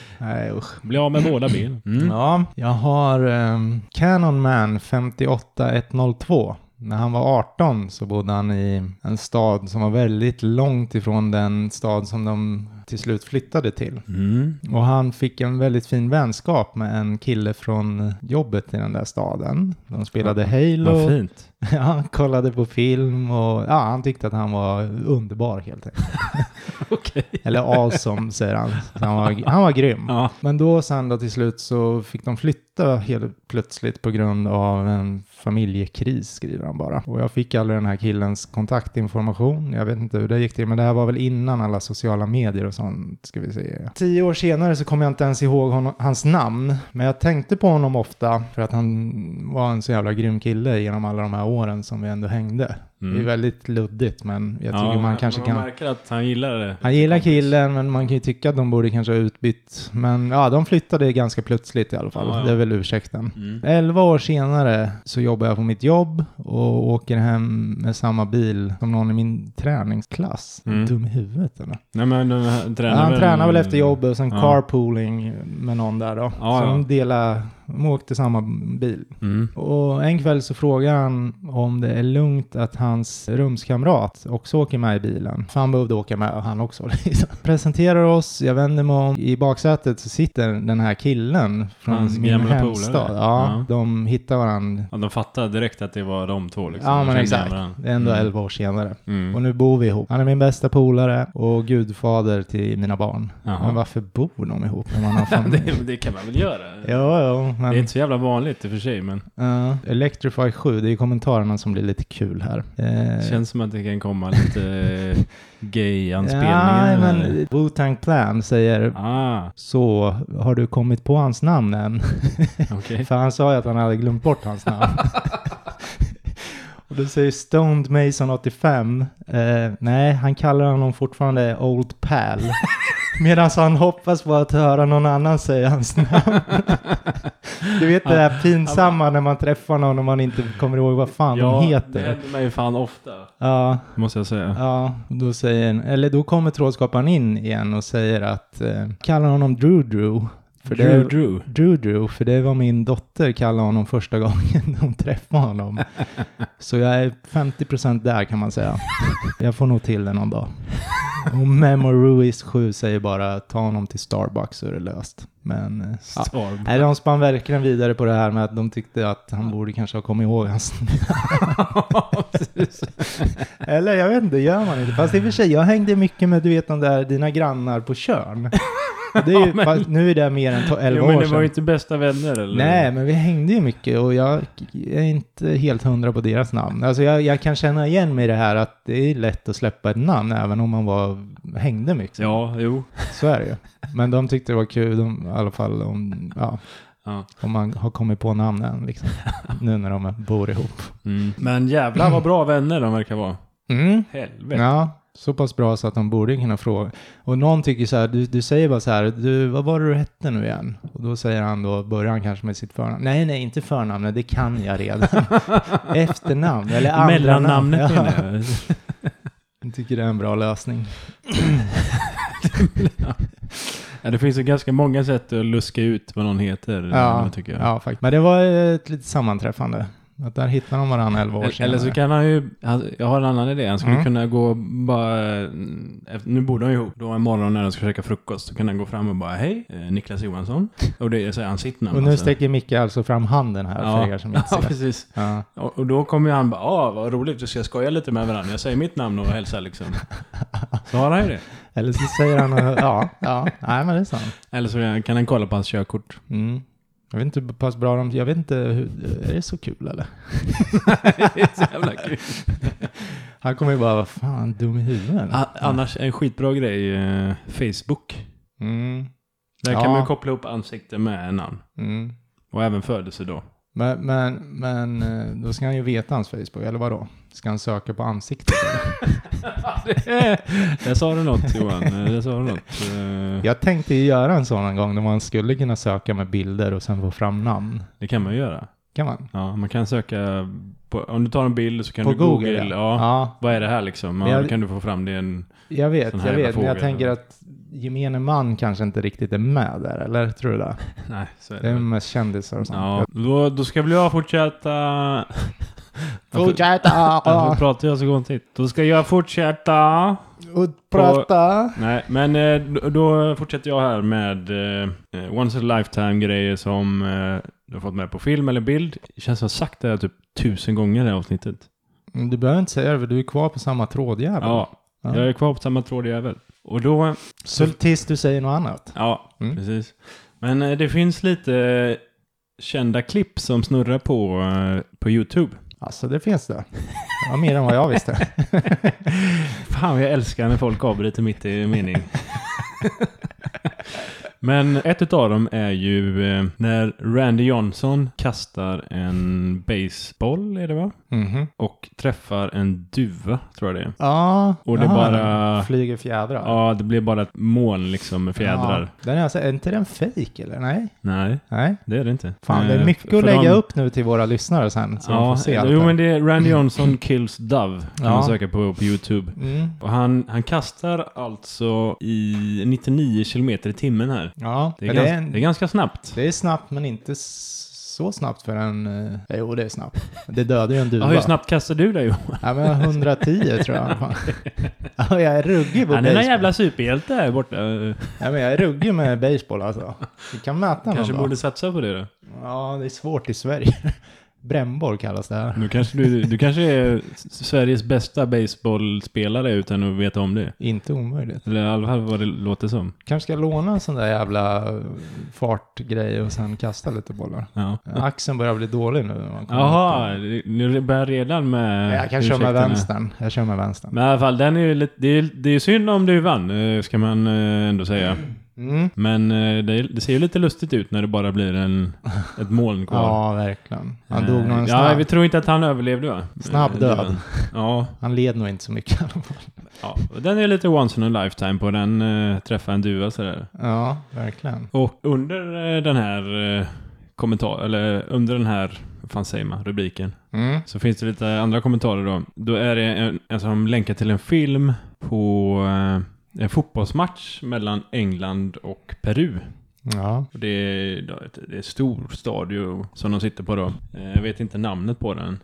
Speaker 2: Nej, usch.
Speaker 1: Bli av med båda benen. Mm.
Speaker 2: Ja, jag har um, Canon Man 58102. När han var 18 så bodde han i en stad som var väldigt långt ifrån den stad som de till slut flyttade till.
Speaker 1: Mm.
Speaker 2: Och han fick en väldigt fin vänskap med en kille från jobbet i den där staden. De spelade
Speaker 1: Vad
Speaker 2: Halo,
Speaker 1: fint.
Speaker 2: ja, han kollade på film och ja, han tyckte att han var underbar helt enkelt.
Speaker 1: Okej.
Speaker 2: Eller awesome säger han. Så han, var, han var grym.
Speaker 1: Ja.
Speaker 2: Men då sen då till slut så fick de flytta helt plötsligt på grund av en familjekris skriver han bara. Och jag fick aldrig den här killens kontaktinformation. Jag vet inte hur det gick till men det här var väl innan alla sociala medier och sånt ska vi se. Tio år senare så kommer jag inte ens ihåg honom, hans namn. Men jag tänkte på honom ofta för att han var en så jävla grym kille genom alla de här åren som vi ändå hängde.
Speaker 1: Mm.
Speaker 2: Det är väldigt luddigt men jag tycker man kanske
Speaker 1: man
Speaker 2: kan...
Speaker 1: märker att han gillar det.
Speaker 2: Han gillar killen, men man kan ju tycka att de borde kanske ha utbytt. Men ja, de flyttade ganska plötsligt i alla fall.
Speaker 1: Ja, ja.
Speaker 2: Det är väl ursäkten.
Speaker 1: Mm.
Speaker 2: Elva år senare så jobbar jag på mitt jobb och åker hem med samma bil som någon i min träningsklass.
Speaker 1: Mm.
Speaker 2: Dum i huvudet eller?
Speaker 1: Nej, men han
Speaker 2: Ja,
Speaker 1: tränar
Speaker 2: han tränar väl efter jobbet och sen
Speaker 1: Ja.
Speaker 2: carpooling med någon där då.
Speaker 1: Ja,
Speaker 2: så
Speaker 1: ja.
Speaker 2: de delar, de åkte samma bil.
Speaker 1: Mm.
Speaker 2: Och en kväll så frågar han om det är lugnt att hans rumskamrat också åker med i bilen. För han behövde åka med, och han också. Liksom. Presenterar oss, jag vänder mig om. I baksätet så sitter den här killen från
Speaker 1: Hans
Speaker 2: min
Speaker 1: gamla
Speaker 2: hemstad.
Speaker 1: polare.
Speaker 2: Ja,
Speaker 1: Ja.
Speaker 2: De hittar varandra.
Speaker 1: Ja, de fattar direkt att det var de två liksom.
Speaker 2: Ja,
Speaker 1: De
Speaker 2: men
Speaker 1: kände
Speaker 2: exakt.
Speaker 1: varandra.
Speaker 2: Det är ändå
Speaker 1: Mm.
Speaker 2: 11 år senare. Och
Speaker 1: Mm.
Speaker 2: nu bor vi ihop. Han är min bästa polare och gudfader till mina barn.
Speaker 1: Jaha.
Speaker 2: Men varför bor de ihop när man har familj?
Speaker 1: det, det kan man väl göra?
Speaker 2: Ja, ja, men...
Speaker 1: Det är inte så jävla vanligt i och för sig, men
Speaker 2: Ja, Electrify 7, det är ju kommentarerna som blir lite kul här.
Speaker 1: det
Speaker 2: Eh,
Speaker 1: känns som att det kan komma lite eh,
Speaker 2: Ja,
Speaker 1: gay-anspelningar.
Speaker 2: men Wu-Tang Clan säger
Speaker 1: Ah,
Speaker 2: så har du kommit på hans namn än?
Speaker 1: okej.
Speaker 2: För han sa ju att han hade glömt bort hans namn. Och då säger Stoned Mason 85, eh, nej han kallar honom fortfarande Old Pal. Medan han hoppas på att höra någon annan säga hans namn. Du vet det där pinsamma när man träffar någon och man inte kommer ihåg vad fan de
Speaker 1: det
Speaker 2: heter.
Speaker 1: händer mig fan ofta.
Speaker 2: Ja,
Speaker 1: Måste jag säga.
Speaker 2: Ja, och då säger en, eller då kommer trådskaparen in igen och säger att eh, kallar honom Drew Drew. För
Speaker 1: Drew
Speaker 2: det,
Speaker 1: Drew.
Speaker 2: Drew Drew, för det var min dotter kallade honom första gången hon träffade honom. Så jag är 50% där kan man säga. Jag får nog till det någon dag. Och Memo Ruiz 7 säger bara ta honom till Starbucks så är det löst. Men eh, ja.
Speaker 1: Storm.
Speaker 2: Nej, de spann verkligen vidare på det här med att de tyckte att han borde kanske ha kommit ihåg hans Eller jag vet inte, gör man inte. Fast i och för sig, jag hängde mycket med du vet de där dina grannar på Tjörn. Det är ju,
Speaker 1: Ja, men-
Speaker 2: fast nu är det mer än to- 11
Speaker 1: Jo, men
Speaker 2: år
Speaker 1: det var ju
Speaker 2: sedan.
Speaker 1: inte bästa vänner eller?
Speaker 2: Nej, men vi hängde ju mycket och jag är inte helt hundra på deras namn. Alltså jag, jag kan känna igen mig i det här att det är lätt att släppa ett namn även om man var, hängde mycket.
Speaker 1: Ja, jo.
Speaker 2: Så är det ju. Men de tyckte det var kul de, i alla fall om, ja,
Speaker 1: Ja.
Speaker 2: om man har kommit på namnen liksom. Nu när de bor ihop.
Speaker 1: Mm. Men jävlar vad bra vänner de verkar vara.
Speaker 2: Mm.
Speaker 1: Helvete.
Speaker 2: Ja, så pass bra så att de borde kunna fråga. Och någon tycker så här, du, du säger bara så här, du, vad var det du hette nu igen? Och då säger han då, börjar han kanske med sitt förnamn. Nej, nej, inte förnamnet, det kan jag redan. Efternamn, eller andra namn.
Speaker 1: Mellannamnet
Speaker 2: Ja,
Speaker 1: menar jag.
Speaker 2: jag tycker det är en bra lösning.
Speaker 1: Ja, det finns ju ganska många sätt att luska ut vad någon heter.
Speaker 2: Ja,
Speaker 1: eh, tycker jag.
Speaker 2: ja, faktiskt. Men det var ett litet sammanträffande. Att där hittar de varandra 11 år
Speaker 1: Eller- Eller så
Speaker 2: senare.
Speaker 1: kan han ju, han- jag har en annan idé, han skulle
Speaker 2: Mm.
Speaker 1: kunna gå och bara, eh, nu bor de ihop, då en morgon när de ska käka frukost så kan han gå fram och bara hej, eh, Niklas Johansson. Och det säger han sitt namn.
Speaker 2: Och nu
Speaker 1: alltså.
Speaker 2: sträcker Micke alltså fram handen här
Speaker 1: Ja.
Speaker 2: för er som inte
Speaker 1: Ja,
Speaker 2: ser.
Speaker 1: precis.
Speaker 2: Ja.
Speaker 1: Och, och då kommer ju han bara, ah vad roligt, vi ska skoja lite med varandra. Jag säger mitt namn och hälsar liksom. Så har han ju det.
Speaker 2: Eller så säger han, ja, ja, nej men det är sant.
Speaker 1: Eller så kan han kolla på hans körkort.
Speaker 2: Mm. Jag vet inte hur pass bra de, jag vet inte, hur, är det så kul eller?
Speaker 1: Det är så jävla kul.
Speaker 2: Han kommer ju bara, vad fan, dum i huvudet. eller?"
Speaker 1: A- Annars, en skitbra grej, eh, Facebook.
Speaker 2: Mm.
Speaker 1: Där
Speaker 2: Ja.
Speaker 1: kan man ju koppla upp ansikte med namn.
Speaker 2: Mm.
Speaker 1: Och även födelsedag.
Speaker 2: Men, men, men eh, då ska han ju veta hans Facebook, eller vadå? Ska han söka på ansiktet?
Speaker 1: Där sa du något Johan. Eh, Där sa du något. Eh,
Speaker 2: jag tänkte ju göra en sån en gång där man skulle kunna söka med bilder och sen få fram namn.
Speaker 1: Det kan man ju göra.
Speaker 2: Kan man?
Speaker 1: Ja, man kan söka på, om du tar en bild så kan
Speaker 2: På
Speaker 1: du Google.
Speaker 2: Google,
Speaker 1: ja.
Speaker 2: ja.
Speaker 1: Vad är det här liksom? Ja,
Speaker 2: Men jag-
Speaker 1: Då kan du få fram det. En,
Speaker 2: Jag vet,
Speaker 1: Sån här
Speaker 2: jag
Speaker 1: jävla
Speaker 2: vet, men jag
Speaker 1: fågel.
Speaker 2: tänker att gemene man kanske inte riktigt är med där, eller? Tror du det?
Speaker 1: nej, så är
Speaker 2: Det
Speaker 1: det.
Speaker 2: är
Speaker 1: väl.
Speaker 2: mest kändisar och sånt.
Speaker 1: Ja, då, då ska väl jag fortsätta...
Speaker 2: Fortsätta
Speaker 1: Varför pratar jag så konstigt? Då ska jag fortsätta...
Speaker 2: och prata.
Speaker 1: Nej, men eh, då- då fortsätter jag här med eh, once in a lifetime-grejer som eh, du har fått med på film eller bild. Det känns som jag har sagt det här typ tusen gånger i det här avsnittet.
Speaker 2: Du behöver inte säga det, för du är kvar på samma trådjävel.
Speaker 1: Ja,
Speaker 2: Ja.
Speaker 1: jag är kvar på samma tråd i övrigt. Och då,
Speaker 2: Så tills du säger något annat.
Speaker 1: ja,
Speaker 2: Mm.
Speaker 1: precis. Men eh, det finns lite eh, kända klipp som snurrar på, eh, på YouTube.
Speaker 2: Alltså, det finns det. Det var mer än vad jag visste.
Speaker 1: Fan, jag älskar när folk avbryter mitt i mening. Men ett av dem är ju eh, när Randy Johnson kastar en baseball är det va?
Speaker 2: Mhm.
Speaker 1: Och träffar en duva, tror jag det är.
Speaker 2: Ja.
Speaker 1: Och det
Speaker 2: Jaha,
Speaker 1: bara-
Speaker 2: Flyger fjädrar.
Speaker 1: Ja, det blir bara ett moln liksom med fjädrar.
Speaker 2: Ja. Den är, alltså, är inte den fake eller? Nej.
Speaker 1: Nej,
Speaker 2: Nej.
Speaker 1: det är det inte.
Speaker 2: Fan, det
Speaker 1: Eh,
Speaker 2: är mycket
Speaker 1: för
Speaker 2: att lägga
Speaker 1: de-
Speaker 2: upp nu till våra lyssnare sen. Så de får se allt
Speaker 1: jo
Speaker 2: det.
Speaker 1: men det är Randy Johnson kills Dove. Kan
Speaker 2: Ja.
Speaker 1: man söka på, på YouTube.
Speaker 2: Mm.
Speaker 1: Och han, han kastar alltså i 99 kilometer i timmen här.
Speaker 2: Ja,
Speaker 1: Det är,
Speaker 2: men
Speaker 1: gans,
Speaker 2: det är, en,
Speaker 1: det är ganska snabbt.
Speaker 2: Det är snabbt men inte s- så snabbt för en... Eh, jo, det är snabbt. Det dödar ju en
Speaker 1: Ja,
Speaker 2: duva.
Speaker 1: hur snabbt kastar du det Johan?
Speaker 2: Ja, men 110 tror jag. Fan. Ja, jag är ruggig på
Speaker 1: Han är en
Speaker 2: baseball.
Speaker 1: jävla superhjälte här borta. Eh,
Speaker 2: Ja, men jag är ruggig med baseball alltså. Vi kan mäta någon
Speaker 1: Kanske
Speaker 2: dag.
Speaker 1: borde satsa på det då.
Speaker 2: Ja, det är svårt i Sverige. Brännboll kallas det här.
Speaker 1: Nu kanske du, du kanske är S- Sveriges bästa baseballspelare utan att veta om det.
Speaker 2: Inte omöjligt.
Speaker 1: Eller i alla fall vad det låter som.
Speaker 2: Kanske ska låna en sån där jävla eh, fartgrej och sen kasta lite bollar.
Speaker 1: Ja.
Speaker 2: Axeln börjar bli dålig nu. när man kommer upp.
Speaker 1: Jaha, du börjar redan med
Speaker 2: Jag kan köra med
Speaker 1: ursäkterna.
Speaker 2: vänstern. Jag kör med vänstern.
Speaker 1: Men i alla fall, den är ju lite, det, är, det är synd om du vann, eh, ska man eh, ändå säga.
Speaker 2: Mm.
Speaker 1: Men eh, det, är- det ser ju lite lustigt ut när det bara blir en, ett moln kvar.
Speaker 2: Ja, verkligen. Han
Speaker 1: Eh,
Speaker 2: dog nog
Speaker 1: Ja,
Speaker 2: en snabb.
Speaker 1: vi tror inte att han överlevde va?
Speaker 2: Snabb
Speaker 1: Eh,
Speaker 2: död.
Speaker 1: livan. Ja,
Speaker 2: Han led nog inte så mycket i alla fall.
Speaker 1: ja. Och Den är lite once in a lifetime på den, eh, träffa en duva sådär.
Speaker 2: Ja, verkligen.
Speaker 1: Och under eh, den här eh, kommentar, eller under den här, vad fan säger man, rubriken.
Speaker 2: Mm.
Speaker 1: Så finns det lite andra kommentarer då. Då är det en, en som länkar till en film på eh, en fotbollsmatch mellan England och Peru.
Speaker 2: Ja.
Speaker 1: Och det, är, då ett- det är stor stadio som de sitter på då. Eh, Jag vet inte namnet på den.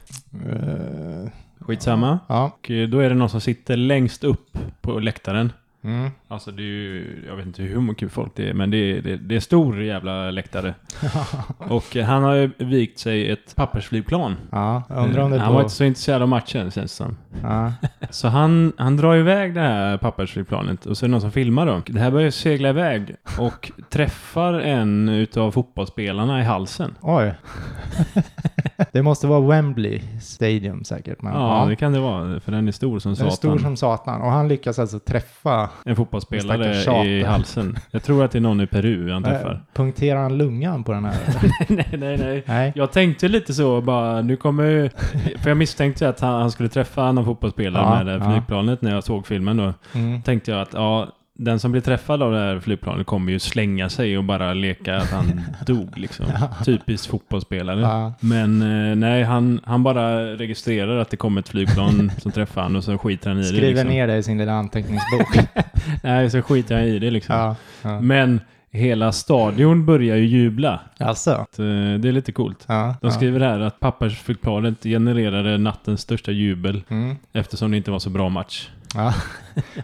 Speaker 2: Eh,
Speaker 1: Skitsamma.
Speaker 2: ja.
Speaker 1: Och eh, då är det någon som sitter längst upp på läktaren.
Speaker 2: Mm.
Speaker 1: Alltså det är ju, jag vet inte hur mycket folk det är, men det är, det, det är stor jävla läktare. och eh, han har ju vikt sig ett pappersflygplan.
Speaker 2: ja. jag Undrar om det
Speaker 1: han var
Speaker 2: då...
Speaker 1: inte så intresserad av matchen känns det som.
Speaker 2: Ja.
Speaker 1: Så han, han drar iväg det här pappersflygplanet och så är det någon som filmar då. Det här börjar segla iväg och träffar en utav fotbollsspelarna i halsen.
Speaker 2: Oj. det måste vara Wembley Stadium säkert. Men,
Speaker 1: Ja,
Speaker 2: ja.
Speaker 1: det kan det vara, för den är stor som
Speaker 2: Den är
Speaker 1: satan.
Speaker 2: stor som satan. Och han lyckas alltså träffa...
Speaker 1: En fotbollsspelare
Speaker 2: Stackars tjat.
Speaker 1: i halsen. Jag tror att det är någon i Peru han
Speaker 2: Eh,
Speaker 1: träffar.
Speaker 2: punkterar han lungan på den här?
Speaker 1: nej, nej, nej.
Speaker 2: Nej.
Speaker 1: Jag tänkte lite så bara, nu kommer ju- För jag misstänkte att han, han skulle träffa någon fotbollsspelare
Speaker 2: Ja,
Speaker 1: med det här
Speaker 2: ja.
Speaker 1: flygplanet när jag såg filmen då.
Speaker 2: Mm.
Speaker 1: tänkte jag att ja, den som blir träffad av det här flygplanet kommer ju slänga sig och bara leka att han dog liksom. Typiskt fotbollsspelare.
Speaker 2: Ja.
Speaker 1: Men eh, nej, han, han bara registrerar att det kommer ett flygplan som träffar han och så skiter han i det.
Speaker 2: Skriver
Speaker 1: Liksom.
Speaker 2: ner det i sin lilla anteckningsbok.
Speaker 1: Nej, så skiter han i det liksom.
Speaker 2: ja. Ja.
Speaker 1: Men Hela stadion börjar ju jubla.
Speaker 2: Alltså?
Speaker 1: Att, eh, Det är lite coolt.
Speaker 2: Ja.
Speaker 1: De
Speaker 2: ja.
Speaker 1: skriver här att pappersflygplanet genererade nattens största jubel
Speaker 2: Mm.
Speaker 1: eftersom det inte var så bra match.
Speaker 2: Ja.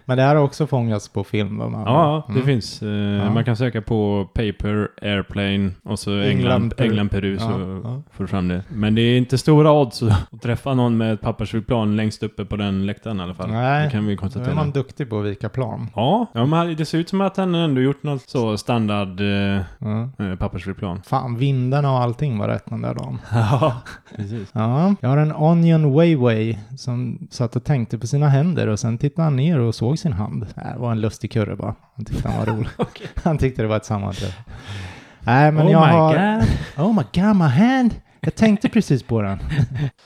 Speaker 2: Men det här har också fångats på film va? Man,
Speaker 1: Ja, det
Speaker 2: Mm.
Speaker 1: finns. eh, Man kan söka på Paper, Airplane och så England,
Speaker 2: England,
Speaker 1: England,
Speaker 2: Peru.
Speaker 1: Peru så
Speaker 2: Ja, ja.
Speaker 1: får du fram det. Men det är inte stora odds att att träffa någon med ett pappersflygplan längst uppe på den läktaren i alla fall.
Speaker 2: Nej.
Speaker 1: Det kan vi
Speaker 2: Då är
Speaker 1: konstatera.
Speaker 2: man duktig på att vika plan.
Speaker 1: Ja, ja men det ser ut som att han ändå gjort något så standard eh,
Speaker 2: Ja.
Speaker 1: eh, pappersflygplan.
Speaker 2: Mm. Fan, vindarna och allting var rätt den där dagen.
Speaker 1: Ja, precis.
Speaker 2: Ja, jag har en Onion Weiwei som satt och tänkte på sina händer och sen tittade han ner och såg sin hand. Äh, Det var en lustig kurre bara. Han tyckte han var rolig.
Speaker 1: Okej.
Speaker 2: Han tyckte det var ett sammanträffande. Nej, men
Speaker 1: oh
Speaker 2: jag
Speaker 1: my
Speaker 2: har...
Speaker 1: god.
Speaker 2: Oh my god, my hand! Jag tänkte precis på den.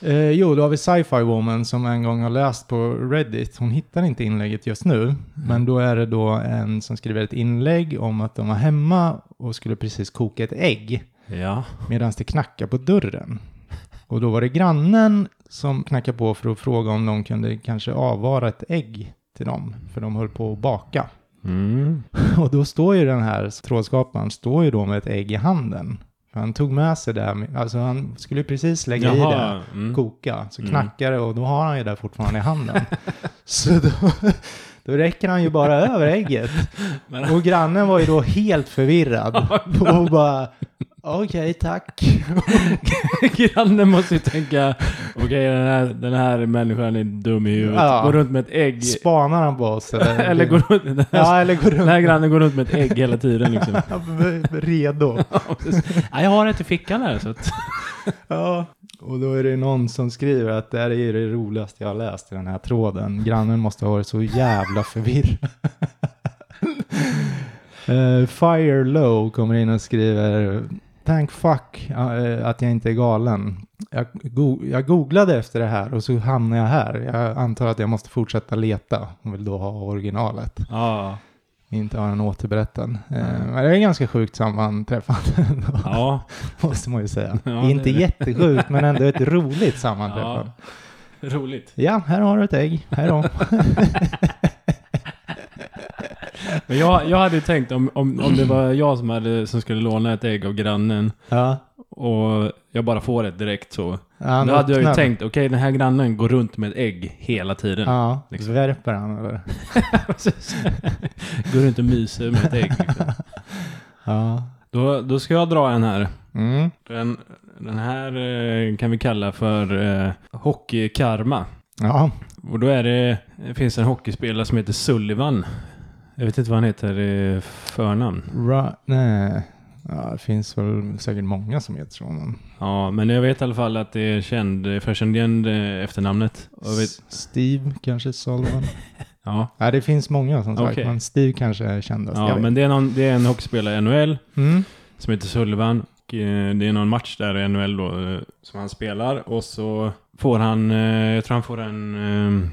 Speaker 2: Eh, jo, då har vi Sci-Fi Woman som en gång har läst på Reddit. Hon hittar inte inlägget just nu, men då är det då en som skriver ett inlägg om att de var hemma och skulle precis koka ett ägg
Speaker 1: Ja.
Speaker 2: medan det knackade på dörren. Och då var det grannen som knackade på för att fråga om de kunde kanske avvara ett ägg till dem, för de höll på att baka.
Speaker 1: Mm.
Speaker 2: Och då står ju den här trådskaparen, står ju då med ett ägg i handen. För han tog med sig det, här med- alltså han skulle ju precis lägga i det,
Speaker 1: Jaha. Mm.
Speaker 2: koka, så
Speaker 1: Mm.
Speaker 2: knackar det och då har han ju det fortfarande i handen. så då, då räcker han ju bara över ägget.
Speaker 1: Men-
Speaker 2: Och grannen var ju då helt förvirrad och bara, okej tack.
Speaker 1: Grannen måste ju tänka, okej den, här, den här människan är dum i huvudet.
Speaker 2: Ja.
Speaker 1: Går runt med ett ägg.
Speaker 2: Spanar han på oss? Eller,
Speaker 1: eller går runt, den, här,
Speaker 2: Ja, eller går
Speaker 1: den
Speaker 2: runt.
Speaker 1: här grannen går runt med ett ägg hela tiden liksom.
Speaker 2: Redo.
Speaker 1: ja, jag har ett i fickan här så att...
Speaker 2: Ja, och då är det någon som skriver att det här är det roligaste jag har läst i den här tråden. Grannen måste ha varit så jävla förvirrad. Eh, Fire Low kommer in och skriver Thank fuck eh, att jag inte är galen. Jag, go- jag googlade efter det här och så hamnade jag här. Jag antar att jag måste fortsätta leta. Hon vill då ha originalet.
Speaker 1: Ja.
Speaker 2: Inte ha den återberättad. Eh, Men det är ganska sjukt sammanträffande. ändå
Speaker 1: Ja.
Speaker 2: måste man ju säga.
Speaker 1: Ja, det är
Speaker 2: Inte
Speaker 1: det.
Speaker 2: jättesjukt, men ändå ett roligt
Speaker 1: ja.
Speaker 2: sammanträffande.
Speaker 1: Roligt.
Speaker 2: Ja. här har du ett ägg. Här då.
Speaker 1: Men jag, jag hade ju tänkt om, om, om det var jag som, hade, som skulle låna ett ägg av grannen
Speaker 2: Ja.
Speaker 1: och jag bara får ett direkt så.
Speaker 2: Han
Speaker 1: Då hade jag ju
Speaker 2: öppnar.
Speaker 1: tänkt, okej den här grannen går runt med ett ägg hela tiden.
Speaker 2: Ja,
Speaker 1: liksom.
Speaker 2: värper han eller?
Speaker 1: Precis. går runt och myser med ett ägg. Liksom.
Speaker 2: Ja.
Speaker 1: Då, då ska jag dra en här.
Speaker 2: Mm.
Speaker 1: Den, den här eh, kan vi kalla för eh, hockeykarma.
Speaker 2: Ja,
Speaker 1: Och då är det, det finns en hockeyspelare som heter Sullivan. Jag vet inte vad han heter i förnamn.
Speaker 2: ra- nej. Ja, det finns väl säkert många som heter så. Men...
Speaker 1: Ja, men jag vet i alla fall att det är känd, för jag kände igen eh, efternamnet. Och jag vet,
Speaker 2: S- Steve kanske, Sullivan.
Speaker 1: ja,
Speaker 2: ja, det finns många som sagt,
Speaker 1: Okej.
Speaker 2: men Steve kanske är kändast. jag
Speaker 1: ja
Speaker 2: vet.
Speaker 1: men det är, någon, det är en hockeyspelare i NHL
Speaker 2: Mm.
Speaker 1: som heter Sullivan. Och, eh, det är någon match där i NHL då, eh, som han spelar. Och så får han, eh, jag tror han får en eh,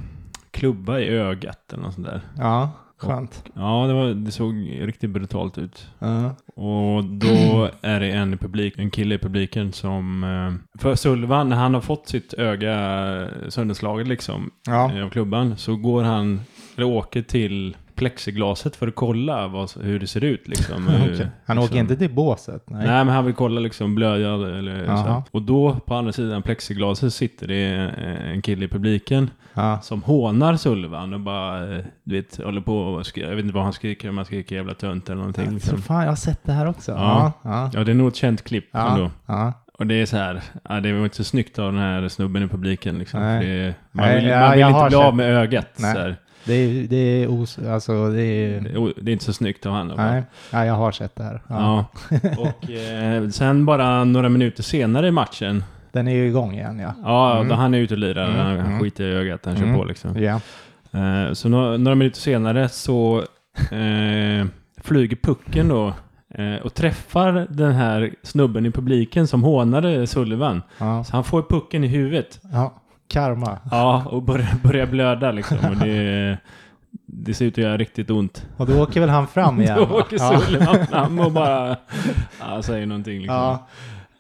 Speaker 1: klubba i ögat eller något sånt där.
Speaker 2: Ja, skönt.
Speaker 1: Ja, det, var, det såg riktigt brutalt ut.
Speaker 2: Ja.
Speaker 1: Och då är det en, i publik, en kille i publiken som... eh, För Sullivan, när han har fått sitt öga eh, sönderslaget liksom
Speaker 2: Ja.
Speaker 1: eh, av klubban så går han, eller åker till plexiglaset för att kolla vad, hur det ser ut liksom.
Speaker 2: Okej.
Speaker 1: Hur-
Speaker 2: Han åker
Speaker 1: liksom.
Speaker 2: inte till båset?
Speaker 1: Nej. men han vill kolla liksom blöja eller så. här.
Speaker 2: Jaha.
Speaker 1: Och då på andra sidan plexiglaset sitter det eh, en kille i publiken
Speaker 2: Ja.
Speaker 1: som hånar Sullivan och bara, eh, du vet, håller på och skriker, jag vet inte vad han skriker, om han skriker jävla tönt eller någonting.
Speaker 2: Jag tror
Speaker 1: Liksom.
Speaker 2: fan jag har sett det här också.
Speaker 1: Ja.
Speaker 2: ja.
Speaker 1: Ja, det är nog ett känt klipp
Speaker 2: Ja,
Speaker 1: ändå.
Speaker 2: ja.
Speaker 1: Och det är så här, ja, det var inte så snyggt av den här snubben i publiken liksom.
Speaker 2: Nej.
Speaker 1: För det, man
Speaker 2: Nej,
Speaker 1: vill,
Speaker 2: ja,
Speaker 1: man vill
Speaker 2: jag har
Speaker 1: inte bli
Speaker 2: sett-
Speaker 1: av med ögat. Så
Speaker 2: Nej.
Speaker 1: här.
Speaker 2: Det är, det är os... Alltså det är...
Speaker 1: Det, är- det är inte så snyggt av han. i alla fall.
Speaker 2: Nej, ja, jag har sett det här. Ja.
Speaker 1: Ja. Och eh, sen bara några minuter senare i matchen,
Speaker 2: Den är ju igång igen ja.
Speaker 1: ja,
Speaker 2: Mm.
Speaker 1: då han är ute och lirar,
Speaker 2: Mm,
Speaker 1: han,
Speaker 2: mm.
Speaker 1: han skiter i ögat, han kör
Speaker 2: Mm.
Speaker 1: på liksom.
Speaker 2: Ja.
Speaker 1: Eh, så nå- några minuter senare så eh, flyger pucken då eh, och träffar den här snubben i publiken som hånade Sullivan.
Speaker 2: ja.
Speaker 1: Så han får pucken i huvudet.
Speaker 2: ja. Karma.
Speaker 1: Ja, och börjar, börjar blöda liksom. Och det, det ser ut att göra riktigt ont.
Speaker 2: Och då åker väl han fram igen?
Speaker 1: Då
Speaker 2: va?
Speaker 1: åker Sullivan fram och bara ja, säger någonting liksom.
Speaker 2: Ja.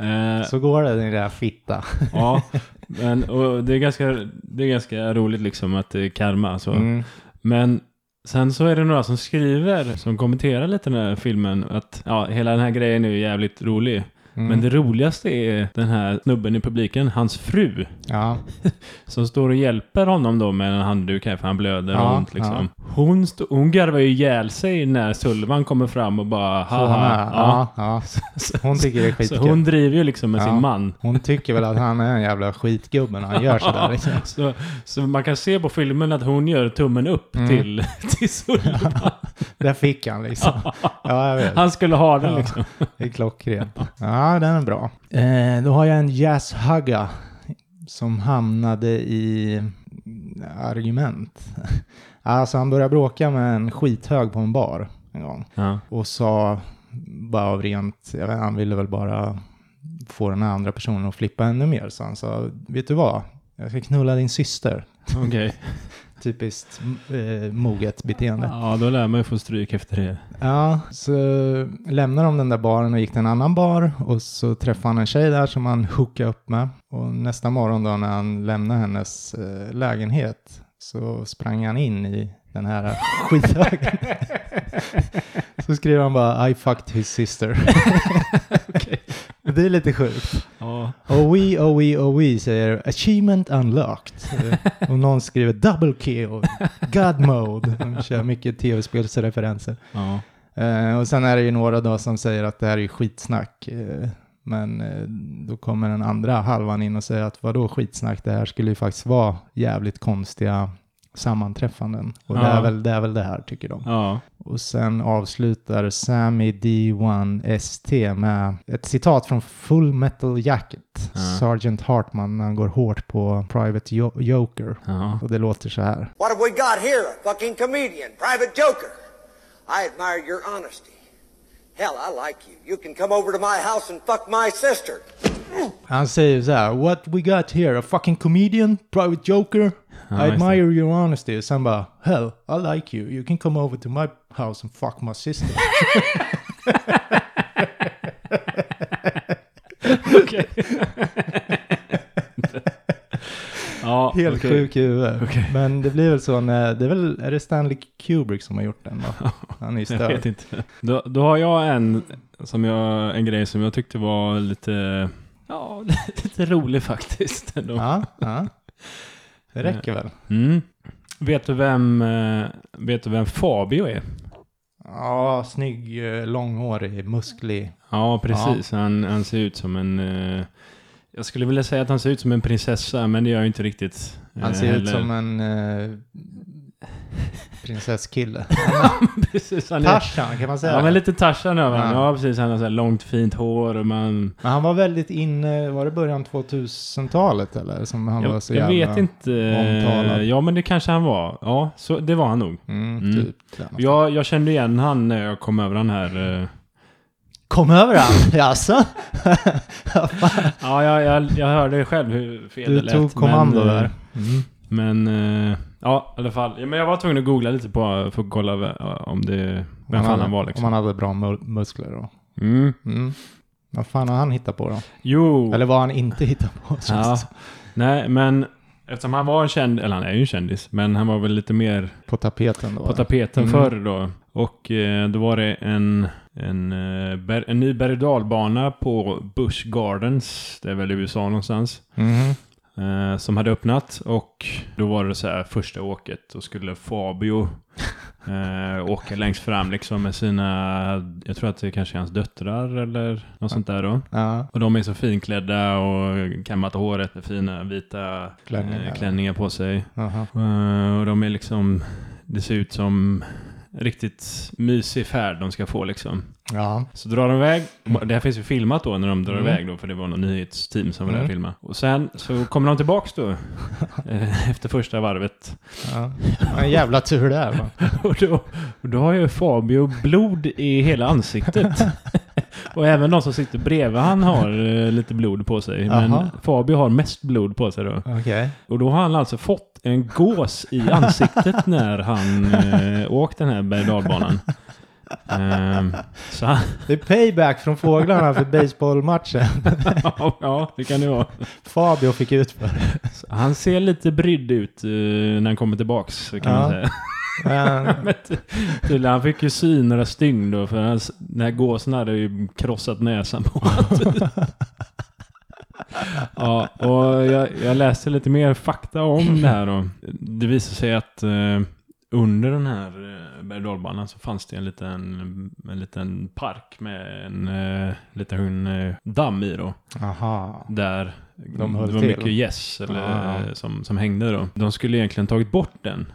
Speaker 1: Eh,
Speaker 2: ja, så går det din där fitta.
Speaker 1: ja. eh, Men och det, är ganska, det är ganska roligt liksom att det är karma. Så.
Speaker 2: Mm.
Speaker 1: Men Sen så är det några som skriver, som kommenterar lite den här filmen, att ja, hela den här grejen är ju jävligt rolig.
Speaker 2: Mm.
Speaker 1: Men det roligaste är den här snubben i publiken, hans fru,
Speaker 2: Ja,
Speaker 1: som står och hjälper honom då med en handduk här för han blöder och
Speaker 2: Ja,
Speaker 1: ont liksom. Hon, stå, hon garvar ju ihjäl sig när Sullivan kommer fram och bara
Speaker 2: så hon,
Speaker 1: haha.
Speaker 2: är, ja. Ja, hon tycker det är
Speaker 1: Så
Speaker 2: skitkul.
Speaker 1: hon driver ju liksom med sin
Speaker 2: Ja.
Speaker 1: man.
Speaker 2: Hon tycker väl att han är en jävla skitgubbe när han gör sådär. Liksom.
Speaker 1: Så, så man kan se på filmen att hon gör tummen upp
Speaker 2: Mm.
Speaker 1: till, till Sullivan.
Speaker 2: Där fick han liksom. Ja, jag vet.
Speaker 1: Han skulle ha den
Speaker 2: Ja.
Speaker 1: liksom.
Speaker 2: Det är klockrent. Ja, den är bra. Eh, då har jag en jazzhugga som hamnade i argument. Alltså han började bråka med en skithög på en bar en gång.
Speaker 1: Ja.
Speaker 2: Och sa bara av rent, jag vet, inte, han ville väl bara få den här andra personen att flippa ännu mer. Så han sa, vet du vad? Jag ska knulla din syster.
Speaker 1: Okej.
Speaker 2: Typiskt eh, moget beteende.
Speaker 1: Ja, då lär man ju få stryk efter det.
Speaker 2: Ja, så lämnade de den där baren och gick till en annan bar och så träffade han en tjej där som han hookade upp med. Och nästa morgon då när han lämnade hennes eh, lägenhet så sprang han in i den här skithögen. så skrev han bara I fucked his sister. Det är lite sjukt.
Speaker 1: Ja.
Speaker 2: OE, OE, OE oh säger Achievement unlocked. Eh, Och någon skriver double kill, God mode. De kör mycket tv-spelsreferenser.
Speaker 1: ja.
Speaker 2: Eh, och sen är det ju några då som säger att det här är ju skitsnack. Eh, men eh, då kommer den andra halvan in och säger att vadå skitsnack, det här skulle ju faktiskt vara jävligt konstiga sammanträffanden. Och det,
Speaker 1: Ja.
Speaker 2: är väl, det är väl det här tycker de.
Speaker 1: Ja.
Speaker 2: Och sen avslutar Sammy D1ST med ett citat från Full Metal Jacket,
Speaker 1: Ja.
Speaker 2: Sergeant Hartman, när han går hårt på Private jo- Joker.
Speaker 1: Ja.
Speaker 2: Och det låter så här.
Speaker 3: What have we got here? A fucking comedian, private joker. I admire your honesty. Hell, I like you. You can come over to my house and fuck my sister.
Speaker 2: Han säger så här, what we got here, a fucking comedian, private joker, I
Speaker 1: just
Speaker 2: admire your honesty. Och sen bara, hell, I like you, you can come over to my house and fuck my sister.
Speaker 1: Okej. ja,
Speaker 2: Helt
Speaker 1: okej.
Speaker 2: sjuk i huvudet. Men det blir väl så, när, det är väl, är det Stanley Kubrick som har gjort den va? Han är ju
Speaker 1: Jag vet
Speaker 2: störd.
Speaker 1: inte. Då, då har jag en, som jag, en grej som jag tyckte var lite, ja, lite rolig faktiskt. Ändå.
Speaker 2: Ja, ja. Det räcker väl?
Speaker 1: Mm. Vet, du vem, eh, vet du vem Fabio är?
Speaker 2: Ja, snygg, eh, långhårig, musklig.
Speaker 1: Ja, precis. Han, han ser ut som en... eh, jag skulle vilja säga att han ser ut som en prinsessa, men det gör jag inte riktigt. eh,
Speaker 2: Han ser ut
Speaker 1: heller.
Speaker 2: som en eh, prinsesskille.
Speaker 1: precis, han är,
Speaker 2: Tarzan, kan man säga
Speaker 1: Ja,
Speaker 2: det?
Speaker 1: men lite Tarzan över honom.
Speaker 2: Ja.
Speaker 1: Ja, precis. Han har så här långt fint hår och man...
Speaker 2: Men han var väldigt inne, var det början 2000-talet eller? Som han var
Speaker 1: Jag,
Speaker 2: så
Speaker 1: jag
Speaker 2: jävla...
Speaker 1: vet inte.
Speaker 2: omtalad.
Speaker 1: Ja, men det kanske han var. Ja, så, det var han nog.
Speaker 2: Mm,
Speaker 1: Mm.
Speaker 2: Typ. där någonstans.
Speaker 1: Jag, jag kände igen han när jag kom över den här. eh.
Speaker 2: Kom över han, jaså?
Speaker 1: Ja, jag, jag, jag hörde själv hur fel det
Speaker 2: Du
Speaker 1: lät.
Speaker 2: tog kommando
Speaker 1: men, eh,
Speaker 2: där. Mm.
Speaker 1: Men, eh, ja, i alla fall. Ja, men jag var tvungen att googla lite på för att kolla v- om det, vem fan han var liksom.
Speaker 2: Om han hade bra mu- muskler då.
Speaker 1: Mm.
Speaker 2: Mm. Vad fan har han hittat på då?
Speaker 1: Jo.
Speaker 2: Eller vad har han inte hittat på? känns
Speaker 1: Oh. ja.
Speaker 2: det?
Speaker 1: Nej, men eftersom han var en känd, eller han är ju en kändis, men han var väl lite mer
Speaker 2: På tapeten då?
Speaker 1: på
Speaker 2: eller?
Speaker 1: tapeten
Speaker 2: Mm.
Speaker 1: förr då. Och eh, då var det en, en, eh, ber, en ny berg dalbana på Busch Gardens, det är väl i USA någonstans,
Speaker 2: Mhm.
Speaker 1: eh, som hade öppnat. Och då var det så här första åket, då skulle Fabio eh, åka längst fram liksom med sina, jag tror att det kanske är hans döttrar eller något sånt där då.
Speaker 2: Ja.
Speaker 1: Och de är så finklädda och kammat håret med fina vita
Speaker 2: Klänningar.
Speaker 1: eh, klänningar på sig.
Speaker 2: aha.
Speaker 1: Eh, och de är liksom, det ser ut som riktigt mysig färd de ska få liksom.
Speaker 2: Ja.
Speaker 1: Så drar de iväg, det här finns ju filmat då när de drar
Speaker 2: Mm.
Speaker 1: iväg då för det var något nyhetsteam som var där och
Speaker 2: Mm.
Speaker 1: filmade. Och sen så kommer de tillbaks då eh, efter första varvet.
Speaker 2: ja. En jävla tur det är va?
Speaker 1: Och då, och då har ju Fabio blod i hela ansiktet. Och även de som sitter bredvid han har eh, lite blod på sig. Men
Speaker 2: Jaha.
Speaker 1: Fabio har mest blod på sig då.
Speaker 2: Okej.
Speaker 1: Och då har han alltså fått en gås i ansiktet när han eh, åkt den här berg dalbanan. Ehm, så han,
Speaker 2: Det är payback från fåglarna för baseballmatchen.
Speaker 1: ja, det kan det vara.
Speaker 2: Fabio fick ut för.
Speaker 1: Så han ser lite brydd ut eh, när han kommer tillbaks, kan
Speaker 2: Ja.
Speaker 1: man säga.
Speaker 2: Men,
Speaker 1: Men ty- Tydligen, han fick ju synra stygn då för hans, den här gåsen hade ju krossat näsan på honom. typ. Ja, och jag, jag läste lite mer fakta om det här då. Det visade sig att eh, under den här eh, berg och så fanns det en liten, en liten park med en eh, liten eh, damm i då.
Speaker 2: aha.
Speaker 1: Där
Speaker 2: De höll
Speaker 1: det var
Speaker 2: till.
Speaker 1: mycket gäss eller,
Speaker 2: Ah.
Speaker 1: eh, som, som hängde då. De skulle egentligen tagit bort den,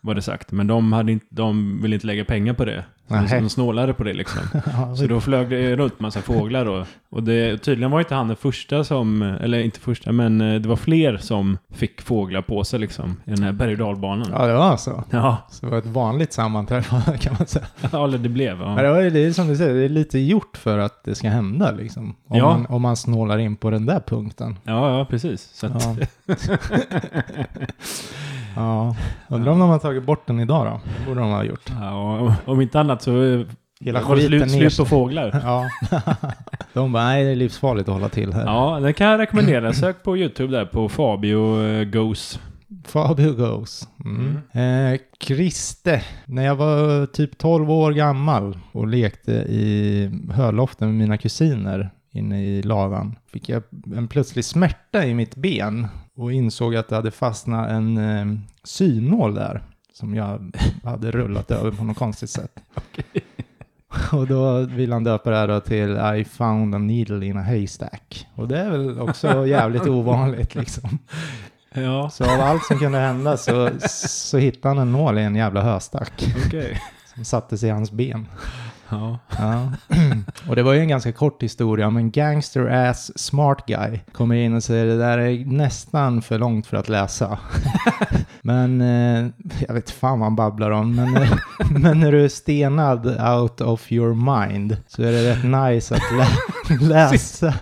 Speaker 1: var det sagt. Men de, hade inte, de ville inte lägga pengar på det. Så de-
Speaker 2: Nej.
Speaker 1: De snålade på det liksom. Så då flög det runt massa fåglar då. Och det, tydligen var inte han den första som, eller inte första, men eh, det var fler som fick fåglar på sig liksom. I den här berg och dalbanan. Ja.
Speaker 2: Ja, det var så.
Speaker 1: Ja,
Speaker 2: Så det var ett vanligt sammanträffande kan man säga.
Speaker 1: eller det blev. Ja.
Speaker 2: Men det, var, ju- det är som du säger, det är lite gjort för att det ska hända liksom. Om,
Speaker 1: Ja.
Speaker 2: man, om man snålar in på den där punkten.
Speaker 1: Ja, ja, precis. Så att,
Speaker 2: Ja. ja. Undrar om de har tagit bort den idag då? Det borde de ha gjort.
Speaker 1: ja, om inte annat så eh,
Speaker 2: Hela
Speaker 1: var det
Speaker 2: skiten
Speaker 1: slut,
Speaker 2: ner
Speaker 1: slut
Speaker 2: sig.
Speaker 1: på fåglar.
Speaker 2: Ja. De bara, nej det är livsfarligt att hålla till här.
Speaker 1: Ja, den kan jag rekommendera. Sök på YouTube där på Fabio eh, Goes.
Speaker 2: Fabio goes. Mm. Eh, Kriste, när jag var typ 12 år gammal och lekte i höloften med mina kusiner inne i ladan fick jag en plötslig smärta i mitt ben och insåg att det hade fastnat en eh, synål där som jag hade rullat över på något konstigt sätt. Och då vill han döpa det här då till I found a needle in a haystack. Och det är väl också jävligt ovanligt liksom.
Speaker 1: Ja,
Speaker 2: Så av allt som kunde hända så, så hittade han en nål i en jävla höstack
Speaker 1: okej.
Speaker 2: som sattes i hans ben.
Speaker 1: Ja.
Speaker 2: Ja. Och det var ju en ganska kort historia, men gangster ass smart guy kommer in och säger det där är nästan för långt för att läsa. men eh, jag vet fan vad han babblar om, men, eh, men när du är stenad out of your mind så är det rätt nice att lä läsa.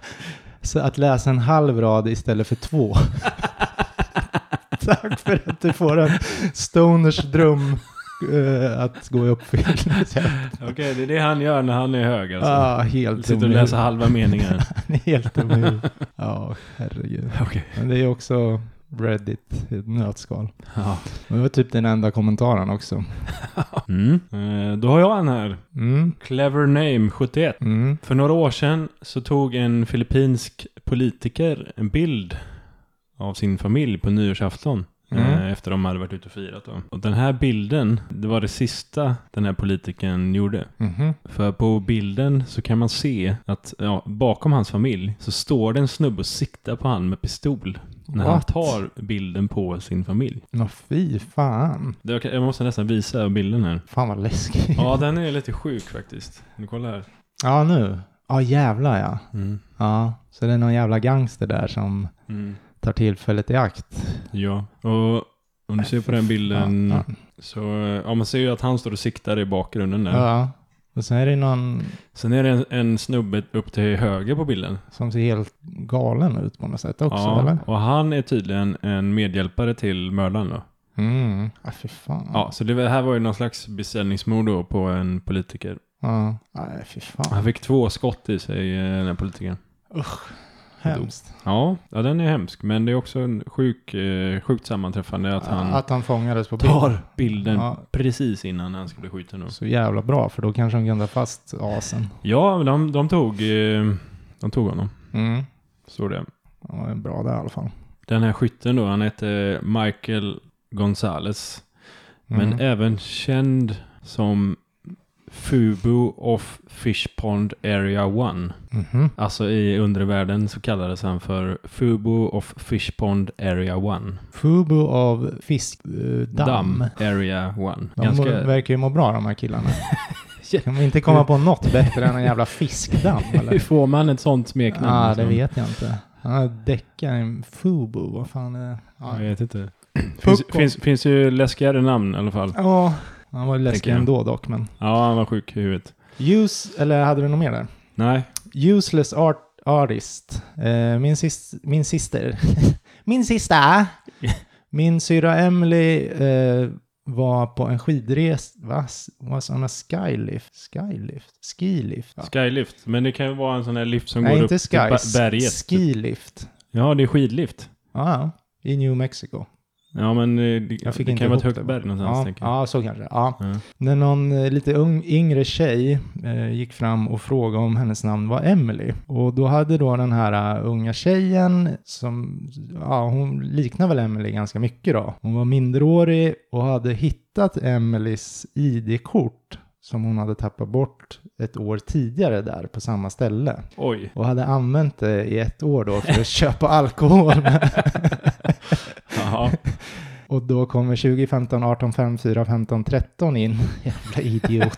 Speaker 2: Så att läsa en halv rad istället för två. Tack för att du får en stoners dröm eh, att gå i uppfyllelse.
Speaker 1: Okej, det är det han gör när han är hög alltså.
Speaker 2: Ja, helt
Speaker 1: Sitter och
Speaker 2: omöjligt.
Speaker 1: läser halva meningar.
Speaker 2: Helt omöjligt. Ja, herregud.
Speaker 1: Okej.
Speaker 2: Men det är också Reddit i ett nötskal.
Speaker 1: Ja.
Speaker 2: Men det var typ den enda kommentaren också.
Speaker 1: Mm. Eh, Då har jag en här.
Speaker 2: Mm.
Speaker 1: Clever Name 71.
Speaker 2: Mm.
Speaker 1: För några år sedan så tog en filippinsk politiker en bild av sin familj på nyårsafton.
Speaker 2: Mm.
Speaker 1: eh, Efter de hade varit ute och firat då. Och den här bilden, det var det sista den här politikern gjorde.
Speaker 2: Mhm.
Speaker 1: För på bilden så kan man se att ja, bakom hans familj så står det en snubbe och siktar på han med pistol. När han
Speaker 2: What?
Speaker 1: tar bilden på sin familj.
Speaker 2: Nå, fy fan.
Speaker 1: Det- Jag kan- jag måste nästan visa bilden här.
Speaker 2: Fan vad läskigt. Ja,
Speaker 1: Ja, den är lite sjuk faktiskt. Nu kolla här.
Speaker 2: nu. Ja, jävlar ja.
Speaker 1: Mm.
Speaker 2: Ja, så det är någon jävla gangster där som
Speaker 1: Mm.
Speaker 2: tar tillfället i akt.
Speaker 1: Ja, och om du ser på den bilden
Speaker 2: Ja,
Speaker 1: så ja, man ser ju att han står och siktar i bakgrunden
Speaker 2: ja.
Speaker 1: där.
Speaker 2: ja. Och sen är det någon
Speaker 1: Sen är det en, en snubbe upp till höger på bilden.
Speaker 2: som ser helt galen ut på något sätt också, eller?
Speaker 1: Ja, och han är tydligen en medhjälpare till mördaren då.
Speaker 2: Mm. Ja, fy fan.
Speaker 1: Ja, så det var- här var ju någon slags beställningsmord då på en politiker.
Speaker 2: Ja. Nej, fy
Speaker 1: Han
Speaker 2: fan.
Speaker 1: fick två skott i sig, eh, den här politikern.
Speaker 2: Hemskt.
Speaker 1: Ja, ja den är hemsk, men det är också en sjuk, eh, sjukt sammanträffande att han
Speaker 2: Att han fångades på bild.
Speaker 1: tar bilden
Speaker 2: Ja.
Speaker 1: precis innan han ska bli skjuten. Då.
Speaker 2: Så jävla bra, för då kanske de kan ta fast asen.
Speaker 1: Ja, men de, de, tog, eh, de tog honom,
Speaker 2: Mm.
Speaker 1: står det.
Speaker 2: Ja, det är bra där i alla fall.
Speaker 1: Den här skytten då, han hette Michael Gonzales,
Speaker 2: Mm.
Speaker 1: men eh, även känd som Fubu of Fishpond Area 1.
Speaker 2: Mhm.
Speaker 1: Alltså i undre världen så kallades han för Fubo of Fishpond Area 1.
Speaker 2: Fubu av fiskdamm. Damm.
Speaker 1: Area 1.
Speaker 2: De
Speaker 1: Ganska...
Speaker 2: verkar ju må bra de här killarna. kan vi inte komma på något bättre än en jävla fiskdamm
Speaker 1: Hur
Speaker 2: eller?
Speaker 1: får man ett sånt
Speaker 2: Ja,
Speaker 1: smeknamn?
Speaker 2: ah,
Speaker 1: liksom?
Speaker 2: det vet jag inte. Han har däckat en Fubu, vad fan är det?
Speaker 1: Jag
Speaker 2: Ja,
Speaker 1: vet inte. Finns,
Speaker 2: Pucko.
Speaker 1: finns, finns ju läskigare namn i alla fall.
Speaker 2: Ja, han var ju läskig
Speaker 1: Tänker jag.
Speaker 2: ändå dock, men.
Speaker 1: Ja, han var sjuk i huvudet.
Speaker 2: Use, eller hade du något mer där?
Speaker 1: Nej.
Speaker 2: Useless art artist. Eh, min, sis min syster. min sista. Min syra Emily eh, var på en skidres... Va? S- Was on a skylift? Skylift? Skilift? va?
Speaker 1: Skylift. Men det kan ju vara en sån här lift som
Speaker 2: Nej,
Speaker 1: går upp
Speaker 2: inte
Speaker 1: till
Speaker 2: sky.
Speaker 1: ba- berget. typ?
Speaker 2: Skilift.
Speaker 1: Ja, det är skidlift.
Speaker 2: Ja, i New Mexico.
Speaker 1: Ja, men eh, det,
Speaker 2: Jag fick
Speaker 1: det
Speaker 2: inte
Speaker 1: kan vara ett
Speaker 2: ihop
Speaker 1: högt
Speaker 2: det.
Speaker 1: berg någonstans,
Speaker 2: ja,
Speaker 1: tänker jag.
Speaker 2: ja, så kanske. Ja.
Speaker 1: Ja.
Speaker 2: När någon eh, lite ung, yngre tjej eh, gick fram och frågade om hennes namn var Emily. Och då hade då den här eh, unga tjejen, som, ja hon liknar väl Emily ganska mycket då. Hon var minderårig och hade hittat Emelies ID-kort som hon hade tappat bort ett år tidigare där på samma ställe.
Speaker 1: Oj.
Speaker 2: Och hade använt det i ett år då för att köpa alkohol.
Speaker 1: Jaha.
Speaker 2: Och då kommer 20, 15, 18, 5, 4, 15, 13 in. Jävla idiot.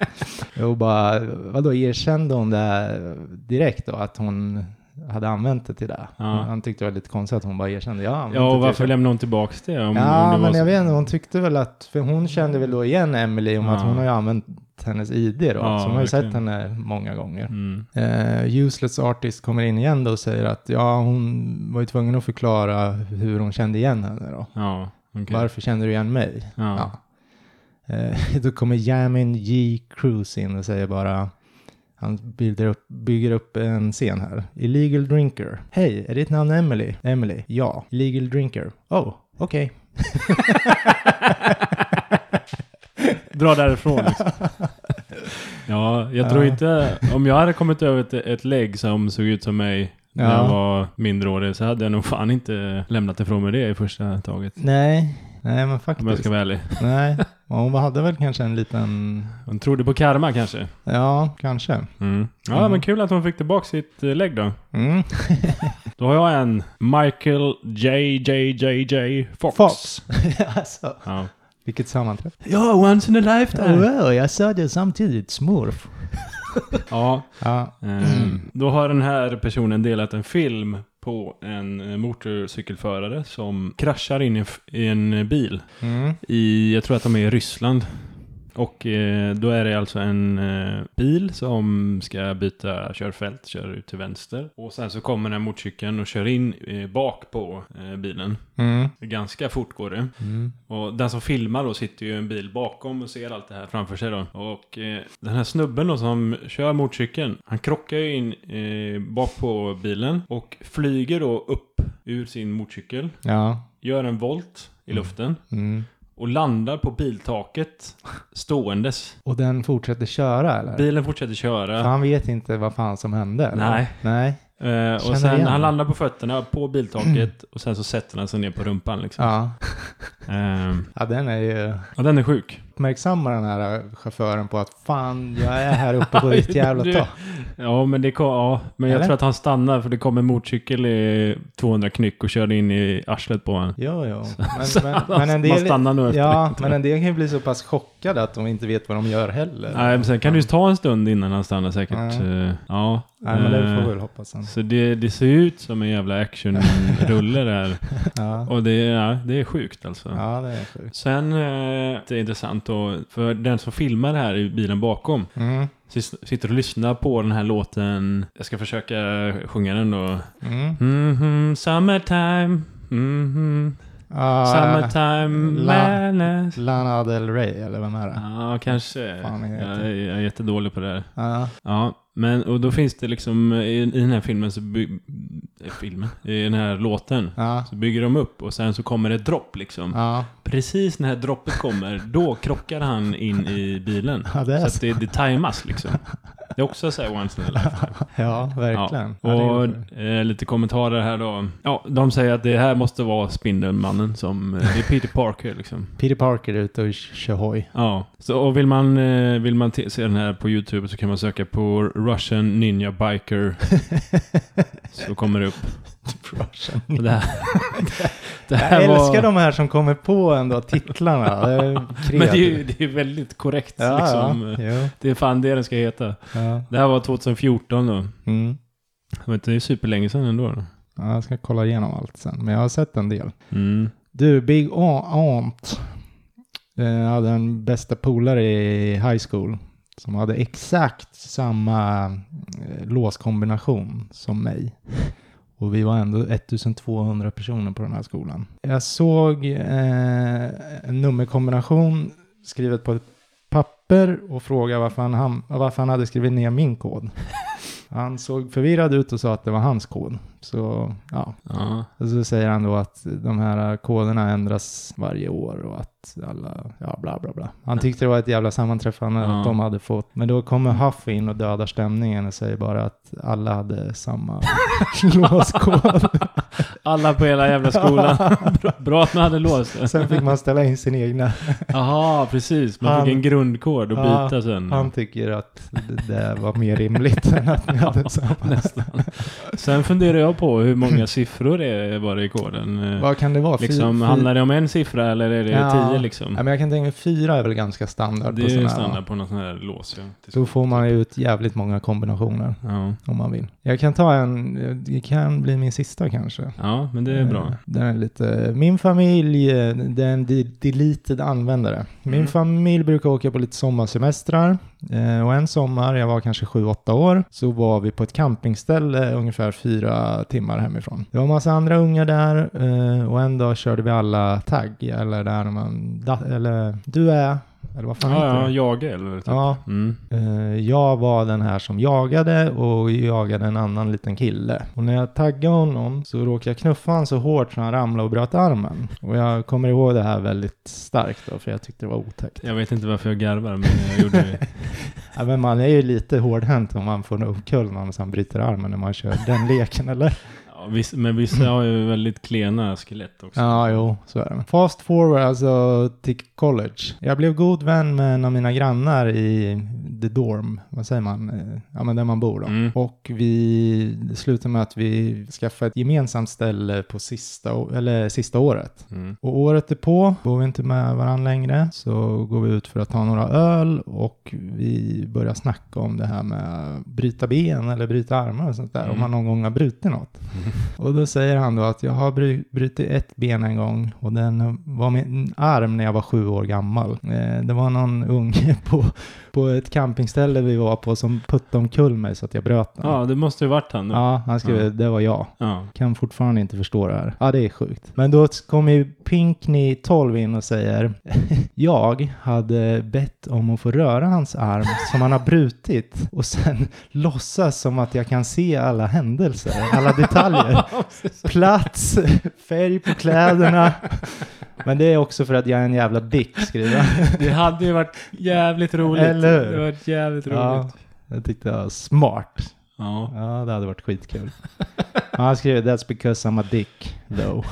Speaker 2: och bara, vadå, erkände hon det direkt då? Att hon hade använt det till det?
Speaker 1: Ja.
Speaker 2: Han tyckte det var lite konstigt att hon bara erkände. Ja, använt
Speaker 1: Ja,
Speaker 2: det
Speaker 1: och
Speaker 2: till
Speaker 1: varför
Speaker 2: det.
Speaker 1: lämnar hon tillbaka det? Om, om
Speaker 2: Ja,
Speaker 1: det
Speaker 2: men
Speaker 1: var
Speaker 2: jag
Speaker 1: så...
Speaker 2: vet inte, hon tyckte väl att, för hon kände väl då igen Emily om
Speaker 1: Ja.
Speaker 2: att hon har ju använt hennes ID då.
Speaker 1: Ja,
Speaker 2: så hon har ju sett
Speaker 1: verkligen.
Speaker 2: henne många gånger.
Speaker 1: Mm.
Speaker 2: Eh, useless Artist kommer in igen då och säger att ja, hon var ju tvungen att förklara hur hon kände igen henne då.
Speaker 1: Ja, okej.
Speaker 2: Varför kände du igen mig?
Speaker 1: Ja.
Speaker 2: Ja. Eh, Då kommer Jamin G. Cruz in och säger bara, han bildar upp, bygger upp en scen här. Illegal drinker. Hej, är ditt namn Emily? Emily, ja. Illegal drinker. Oh, okej.
Speaker 1: Dra därifrån liksom. Ja, jag tror
Speaker 2: Ja.
Speaker 1: inte... Om jag hade kommit över ett, ett lägg som såg ut som mig när
Speaker 2: Ja.
Speaker 1: jag var mindreårig så hade jag nog fan inte lämnat ifrån mig det i första taget.
Speaker 2: Nej, nej men
Speaker 1: Om jag
Speaker 2: faktiskt.
Speaker 1: ska vara ärlig.
Speaker 2: Nej, Ja, hon hade väl kanske en liten,
Speaker 1: Hon trodde på karma kanske.
Speaker 2: ja, kanske.
Speaker 1: Mm. Ja,
Speaker 2: Mm.
Speaker 1: men kul att hon fick tillbaka sitt eh, lägg då.
Speaker 2: Mm.
Speaker 1: Då har jag en Michael JJJJ Fox.
Speaker 2: Fox. alltså,
Speaker 1: Ja.
Speaker 2: vilket sammanträff.
Speaker 1: ja, once in a lifetime.
Speaker 2: Wow, jag sa det samtidigt, smurf.
Speaker 1: Ja,
Speaker 2: Ja,
Speaker 1: Ehm, Då har den här personen delat en film på en eh, motorcykelförare som kraschar in i en f- i en eh, bil
Speaker 2: mm.
Speaker 1: i, jag tror att de är i Ryssland. Och eh, då är det alltså en eh, bil som ska byta körfält, kör ut till vänster. Och sen så kommer den motorcykeln och kör in eh, bak på eh, bilen.
Speaker 2: Mm.
Speaker 1: Ganska fort går det.
Speaker 2: Mm.
Speaker 1: Och den som filmar då sitter ju i en bil bakom och ser allt det här framför sig då. Och eh, den här snubben då som kör motorcykeln, han krockar ju in eh, bak på bilen och flyger då upp ur sin motorcykel,
Speaker 2: ja.
Speaker 1: gör en volt i luften
Speaker 2: Mm.
Speaker 1: och landar på biltaket ståendes.
Speaker 2: Och den fortsätter köra eller?
Speaker 1: Bilen fortsätter köra.
Speaker 2: För han vet inte vad fan som hände? eller?
Speaker 1: Nej.
Speaker 2: Nej.
Speaker 1: Eh, och
Speaker 2: Känner
Speaker 1: sen
Speaker 2: igen.
Speaker 1: han landar på fötterna på biltaket och sen så sätter han sig ner på rumpan liksom.
Speaker 2: Ja.
Speaker 1: Ehm,
Speaker 2: ja, den är ju...
Speaker 1: och den är sjuk.
Speaker 2: Uppmärksamma den här chauffören på att fan, jag är här uppe på ditt jävla
Speaker 1: Du-
Speaker 2: tak.
Speaker 1: Ja, men det kom, ja, men jag
Speaker 2: Eller?
Speaker 1: tror att han stannar för det kom en motorcykel i 200 knyck och körde in i arslet på honom.
Speaker 2: Jo, jo.
Speaker 1: Så
Speaker 2: Men,
Speaker 1: han-
Speaker 2: men, men en
Speaker 1: man
Speaker 2: del...
Speaker 1: stannar nog efter
Speaker 2: Ja,
Speaker 1: lite.
Speaker 2: men en del kan ju bli så pass chockade att de inte vet vad de gör heller.
Speaker 1: Nej, men sen kan det ju ta en stund innan han stannar säkert.
Speaker 2: Ja.
Speaker 1: eh, Ja.
Speaker 2: Nej, men det får
Speaker 1: eh,
Speaker 2: vi väl hoppas. sen.
Speaker 1: Så det, det ser ut som en jävla actionrulle där.
Speaker 2: Ja,
Speaker 1: Och det, ja, det är sjukt alltså.
Speaker 2: ja det är sjukt.
Speaker 1: Sen, eh, det är intressant då, för den som filmar det här i bilen bakom
Speaker 2: Mm,
Speaker 1: sis- sitter och lyssnar på den här låten. Jag ska försöka sjunga den då.
Speaker 2: mm.
Speaker 1: Mhm, summertime. Mhm.
Speaker 2: Ah,
Speaker 1: Summertime
Speaker 2: la-
Speaker 1: madness.
Speaker 2: Lana Del Rey, eller vem är det?
Speaker 1: Ja, kanske.
Speaker 2: Fan, jag
Speaker 1: jag,
Speaker 2: heter.
Speaker 1: är, jag är jättedålig på det här.
Speaker 2: Ja.
Speaker 1: Ja, men och då finns det liksom i, i den här filmen så by, eh, filmen, i den här låten
Speaker 2: Ja.
Speaker 1: så bygger de upp och sen så kommer det ett dropp liksom.
Speaker 2: Ja.
Speaker 1: Precis när det här droppet kommer, då krockar han in i bilen.
Speaker 2: Ja, det är
Speaker 1: så att
Speaker 2: så.
Speaker 1: det, det tajmas liksom. Det är också så här once in a lifetime.
Speaker 2: ja, verkligen. Ja,
Speaker 1: Ja.
Speaker 2: det är
Speaker 1: Och
Speaker 2: sjukt.
Speaker 1: eh, lite kommentarer här då. Ja, de säger att det här måste vara Spindelmannen som... eh, Det är Peter Parker liksom.
Speaker 2: Peter Parker är ute och kör hoj.
Speaker 1: Ja, så och vill man, eh, vill man te- se den här på YouTube så kan man söka på Russian Ninja Biker. så kommer det upp. Och Det här, det
Speaker 2: Jag
Speaker 1: här
Speaker 2: älskar
Speaker 1: var...
Speaker 2: de här som kommer på ändå titlarna. Det är
Speaker 1: Men det är ju
Speaker 2: kreativt.
Speaker 1: det är väldigt korrekt
Speaker 2: ja,
Speaker 1: liksom.
Speaker 2: ja, jo,
Speaker 1: Det är fan det den ska heta.
Speaker 2: ja.
Speaker 1: Det här var 2014 då.
Speaker 2: Mm.
Speaker 1: Jag vet, Det är superlänge sedan ändå. Då.
Speaker 2: ja. Jag ska kolla igenom allt sen, men jag har sett en del.
Speaker 1: Mm.
Speaker 2: Du, Big A- Aunt eh, hade en bästa polare i high school som hade exakt samma eh, låskombination som mig. Och vi var ändå 1200 personer på den här skolan. Jag såg eh, en nummerkombination skrivet på ett papper och frågade varför han, ham- varför han hade skrivit ner min kod. Han såg förvirrad ut och sa att det var hans kod. Så ja,
Speaker 1: Ja.
Speaker 2: och så säger han då att de här koderna ändras varje år och att alla, ja bla bla bla. Han tyckte det var ett jävla sammanträffande
Speaker 1: Ja.
Speaker 2: att de hade fått, men då kommer Huff in och dödar stämningen och säger bara att alla hade samma låskod.
Speaker 1: Alla på hela jävla skolan. Bra- Bra att man hade låst det.
Speaker 2: Sen fick man ställa in sin egna.
Speaker 1: Mm. Jaha, precis. Man fick
Speaker 2: Han-
Speaker 1: en grundkod att
Speaker 2: Ja,
Speaker 1: byta sen.
Speaker 2: Han tycker att det där var mer rimligt än att ni hade samma.
Speaker 1: Nästan. Sen funderar jag på hur många siffror det är bara i koden. Eh,
Speaker 2: Vad kan det vara? Fy-
Speaker 1: Liksom,
Speaker 2: fy-
Speaker 1: handlar det om en siffra eller är det
Speaker 2: Ja.
Speaker 1: tio liksom?
Speaker 2: Ja, men jag kan tänka mig fyra är väl ganska standard
Speaker 1: det
Speaker 2: på
Speaker 1: är ju
Speaker 2: sådana här. va?
Speaker 1: standard på något sånt här lås. Ja.
Speaker 2: Då får man ju ut jävligt många kombinationer.
Speaker 1: Ja.
Speaker 2: om man vill. Jag kan ta en, det kan bli min sista kanske.
Speaker 1: ja, men det är bra.
Speaker 2: Eh, Den är lite, min familj, eh, det är en de- deleted användare. Min
Speaker 1: Mm.
Speaker 2: familj brukar åka på lite sommarsemestrar. Eh, Och en sommar, jag var kanske 7-8 år, så var vi på ett campingställe ungefär fyra timmar hemifrån. Det var massa andra unga där eh, och en dag körde vi alla tagg, eller där man, da, eller du är, eller vad fan
Speaker 1: Ja,
Speaker 2: heter
Speaker 1: ja,
Speaker 2: det?
Speaker 1: jag eller? Typ.
Speaker 2: Ja,
Speaker 1: Mm.
Speaker 2: Eh, Jag var den här som jagade och jagade en annan liten kille. Och när jag taggade honom så råkade jag knuffa honom så hårt så han ramlade och bröt armen. Och jag kommer ihåg det här väldigt starkt då, för jag tyckte det var otäckt.
Speaker 1: Jag vet inte varför jag garvar, men jag gjorde det.
Speaker 2: Ja, men man är ju lite hårdhänt om man får omkull någon som bryter armen när man kör den leken, eller?
Speaker 1: Ja, viss, men vissa har ju väldigt klena skelett också.
Speaker 2: Ja, jo, så är det. Fast forward alltså till college. Jag blev god vän med en av mina grannar i the dorm, vad säger man? Eh, Ja, men där man bor då.
Speaker 1: Mm.
Speaker 2: Och vi det slutade med att vi skaffade ett gemensamt ställe på sista, å- eller sista året.
Speaker 1: Mm.
Speaker 2: Och året därpå bor vi inte med varandra längre, så går vi ut för att ta några öl och vi börjar snacka om det här med att bryta ben eller bryta armar och sånt där, om
Speaker 1: Mm.
Speaker 2: man någon gång har brutit något. och då säger han då att jag har bry- brutit ett ben en gång och den var min arm när jag var sju år gammal. Eh, det var någon unge på, på ett campingställe vi var på som puttade omkull mig så att jag bröt den.
Speaker 1: Ja, det måste ju varit han då.
Speaker 2: Ja, han skrev
Speaker 1: Ja.
Speaker 2: det var jag.
Speaker 1: Ja.
Speaker 2: Kan fortfarande inte förstå det här. Ja, det är sjukt. Men då kommer ju Pinkney 12 in och säger Jag hade bett om att få röra hans arm som han har brutit och sen låtsas som att jag kan se alla händelser, alla detaljer. Plats, färg på kläderna. Men det är också för att jag är en jävla dick, skriver han.
Speaker 1: Det hade ju varit jävligt roligt.
Speaker 2: Eller hur?
Speaker 1: Det hade varit jävligt
Speaker 2: Ja,
Speaker 1: roligt.
Speaker 2: jag tyckte det var smart.
Speaker 1: Ja.
Speaker 2: Ja, det hade varit skitkul. Men han skrev That's because I'm a dick, though.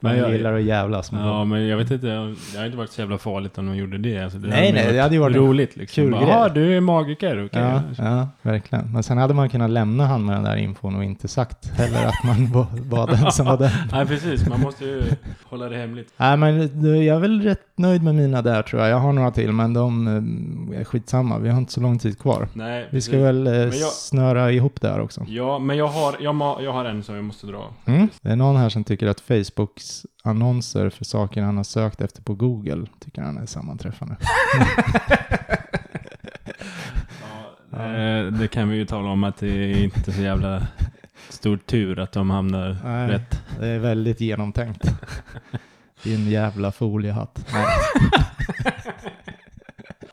Speaker 2: Man
Speaker 1: Men jag-
Speaker 2: gillar att jävlas med
Speaker 1: Ja,
Speaker 2: dem.
Speaker 1: men jag vet inte. Det hade inte varit så jävla farligt om de gjorde det. Alltså, det
Speaker 2: Nej, nej, det hade ju varit en
Speaker 1: roligt liksom.
Speaker 2: kul
Speaker 1: Bara,
Speaker 2: grej.
Speaker 1: "Ah, du är magiker, okej.
Speaker 2: Ja, ja, verkligen. Men sen hade man kunnat lämna han med den där infon och inte sagt heller att man var, var den som var den.
Speaker 1: Nej, precis. Man måste ju hålla det hemligt.
Speaker 2: Nej, men du, jag är väl rätt nöjd med mina där tror jag. Jag har några till, men de eh, är skitsamma. Vi har inte så lång tid kvar.
Speaker 1: Nej,
Speaker 2: Vi
Speaker 1: precis.
Speaker 2: ska väl eh,
Speaker 1: Men jag-
Speaker 2: snöra ihop det här också.
Speaker 1: Ja, men jag har, jag, ma- jag har en som jag måste dra.
Speaker 2: Mm. Det är någon här som tycker att Facebooks annonser för saker han har sökt efter på Google tycker han är sammanträffande.
Speaker 1: Ja. eh, Det kan vi ju tala om att det är inte så jävla stor tur att de hamnar
Speaker 2: Nej.
Speaker 1: rätt.
Speaker 2: Det är väldigt genomtänkt. Din jävla foliehatt. Nej.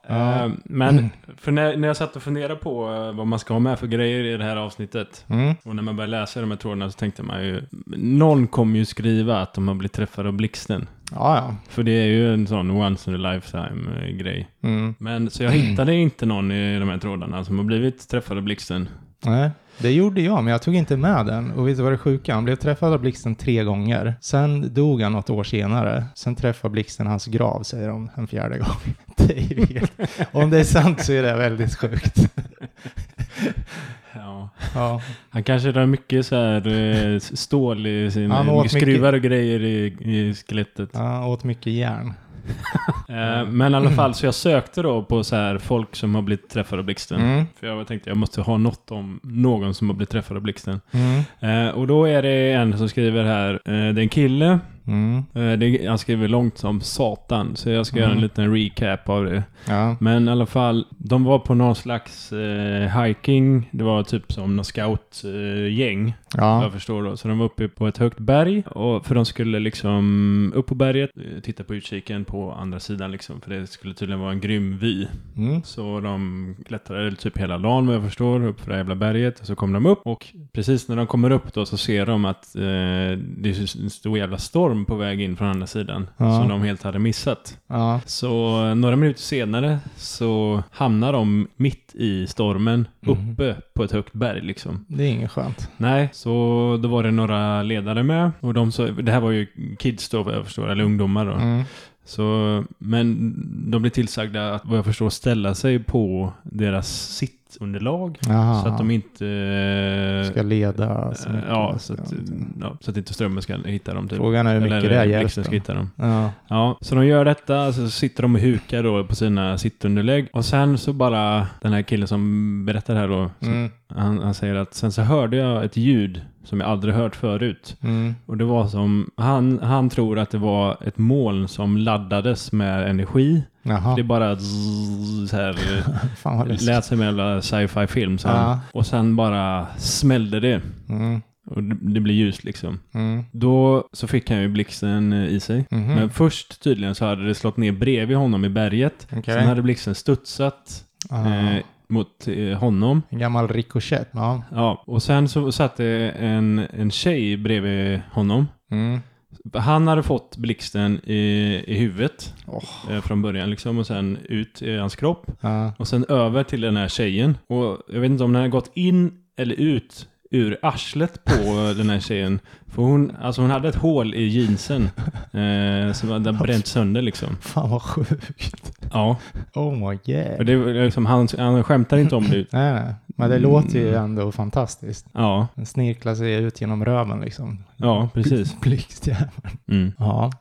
Speaker 2: Ja.
Speaker 1: Eh, Men för när, när jag satt och funderade på eh, vad man ska ha med för grejer i det här avsnittet
Speaker 2: Mm.
Speaker 1: Och när man började läsa de här trådarna så tänkte man ju, någon kommer ju skriva att de har blivit träffade av blixten.
Speaker 2: Ja, ja.
Speaker 1: För det är ju en sån once in a lifetime eh, grej.
Speaker 2: Mm.
Speaker 1: Men så jag hittade inte någon i de här trådarna som har blivit träffad av blixten.
Speaker 2: Nej, det gjorde jag, men jag tog inte med den. Och vet du vad det sjuka? Han blev träffad av blixten tre gånger. Sen dog han något år senare. Sen träffade blixten hans grav, säger de en fjärde gång. Det är ju helt... Om det är sant så är det väldigt sjukt.
Speaker 1: Ja.
Speaker 2: Ja.
Speaker 1: Han kanske har mycket så här eh, stål i sina,
Speaker 2: Han åt
Speaker 1: mycket skruvar och grejer i, i skelettet.
Speaker 2: Han åt mycket järn.
Speaker 1: Eh, men i alla fall, så jag sökte då på så här folk som har blivit träffade av blixten.
Speaker 2: Mm.
Speaker 1: För jag tänkte jag måste ha något om någon som har blivit träffad av blixten.
Speaker 2: Mm.
Speaker 1: Eh, och då är det en som skriver här, eh, det är en kille
Speaker 2: Mm.
Speaker 1: Eh, det, han skriver långt som satan, så jag ska göra en
Speaker 2: Mm.
Speaker 1: liten recap av det.
Speaker 2: Ja.
Speaker 1: Men i alla fall, de var på någon slags eh, hiking. Det var typ som någon scoutgäng. Eh, gäng.
Speaker 2: Ja.
Speaker 1: Jag förstår då. Så de var uppe på ett högt berg. Och för de skulle liksom upp på berget, eh, titta på utkiken på andra sidan liksom. För det skulle tydligen vara en grym vy.
Speaker 2: Mm.
Speaker 1: Så de klättrade typ hela dagen vad jag förstår, upp för det här jävla berget. Och så kom de upp och precis när de kommer upp då så ser de att eh, det är en stor jävla storm på väg in från andra sidan.
Speaker 2: Ja.
Speaker 1: Som de helt hade missat.
Speaker 2: Ja.
Speaker 1: Så eh, några minuter senare så hamnar de mitt i stormen
Speaker 2: Mhm.
Speaker 1: uppe på ett högt berg liksom.
Speaker 2: Det är inget skönt.
Speaker 1: Nej, så då var det några ledare med. Och de så, det här var ju kids då vad jag förstår, eller ungdomar då.
Speaker 2: Mm.
Speaker 1: Så, men de blev tillsagda att vad jag förstår ställa sig på deras sittunderlag.
Speaker 2: Jaha.
Speaker 1: Så att de inte... eh,
Speaker 2: ska leda så mycket. Alltså,
Speaker 1: ja, så att, ja, så att inte strömmen ska hitta dem. Typ.
Speaker 2: Frågan är hur mycket det
Speaker 1: Eller blixten ska
Speaker 2: hjälper.
Speaker 1: hitta dem.
Speaker 2: Ja.
Speaker 1: Ja, så de gör detta, så sitter de och hukar då på sina sittunderlägg. Och sen så bara, den här killen som berättar här då, som
Speaker 2: Mm.
Speaker 1: han, han säger att sen så hörde jag ett ljud som jag aldrig hört förut.
Speaker 2: Mm.
Speaker 1: Och det var som, han, han tror att det var ett moln som laddades med energi.
Speaker 2: Jaha.
Speaker 1: Det bara zzz, så här,
Speaker 2: Fan vad läskigt.
Speaker 1: lät som en jävla sci-fi film. Så
Speaker 2: Ja.
Speaker 1: Och sen bara smällde det.
Speaker 2: Mm.
Speaker 1: Och det, det blev ljus liksom.
Speaker 2: Mm.
Speaker 1: Då så fick han ju blixten eh, i sig.
Speaker 2: Mhm.
Speaker 1: Men först tydligen så hade det slått ner bredvid honom i berget.
Speaker 2: Okej.
Speaker 1: Sen hade blixten studsat
Speaker 2: Ja.
Speaker 1: eh, mot eh, honom.
Speaker 2: En gammal rikoschett. Ja.
Speaker 1: Ja, och sen så satt det en, en tjej bredvid honom.
Speaker 2: Mm.
Speaker 1: Han hade fått blixten i, i huvudet
Speaker 2: Åh.
Speaker 1: eh, från början liksom och sen ut i hans kropp.
Speaker 2: Ja.
Speaker 1: Och sen över till den här tjejen. Och jag vet inte om den hade gått in eller ut ur arslet på den här tjejen. För hon, alltså hon hade ett hål i jeansen. Eh, som hade bränt sönder liksom.
Speaker 2: Fan vad sjukt.
Speaker 1: Ja.
Speaker 2: Oh my
Speaker 1: Och
Speaker 2: god.
Speaker 1: det, var liksom, han, han skämtar inte om det.
Speaker 2: Nej, nej. Men det
Speaker 1: Mm.
Speaker 2: låter ju ändå fantastiskt.
Speaker 1: Ja,
Speaker 2: Den snirklar sig ut genom röven liksom.
Speaker 1: ja precis.
Speaker 2: Blixtjäveln.
Speaker 1: Mm.
Speaker 2: Ja.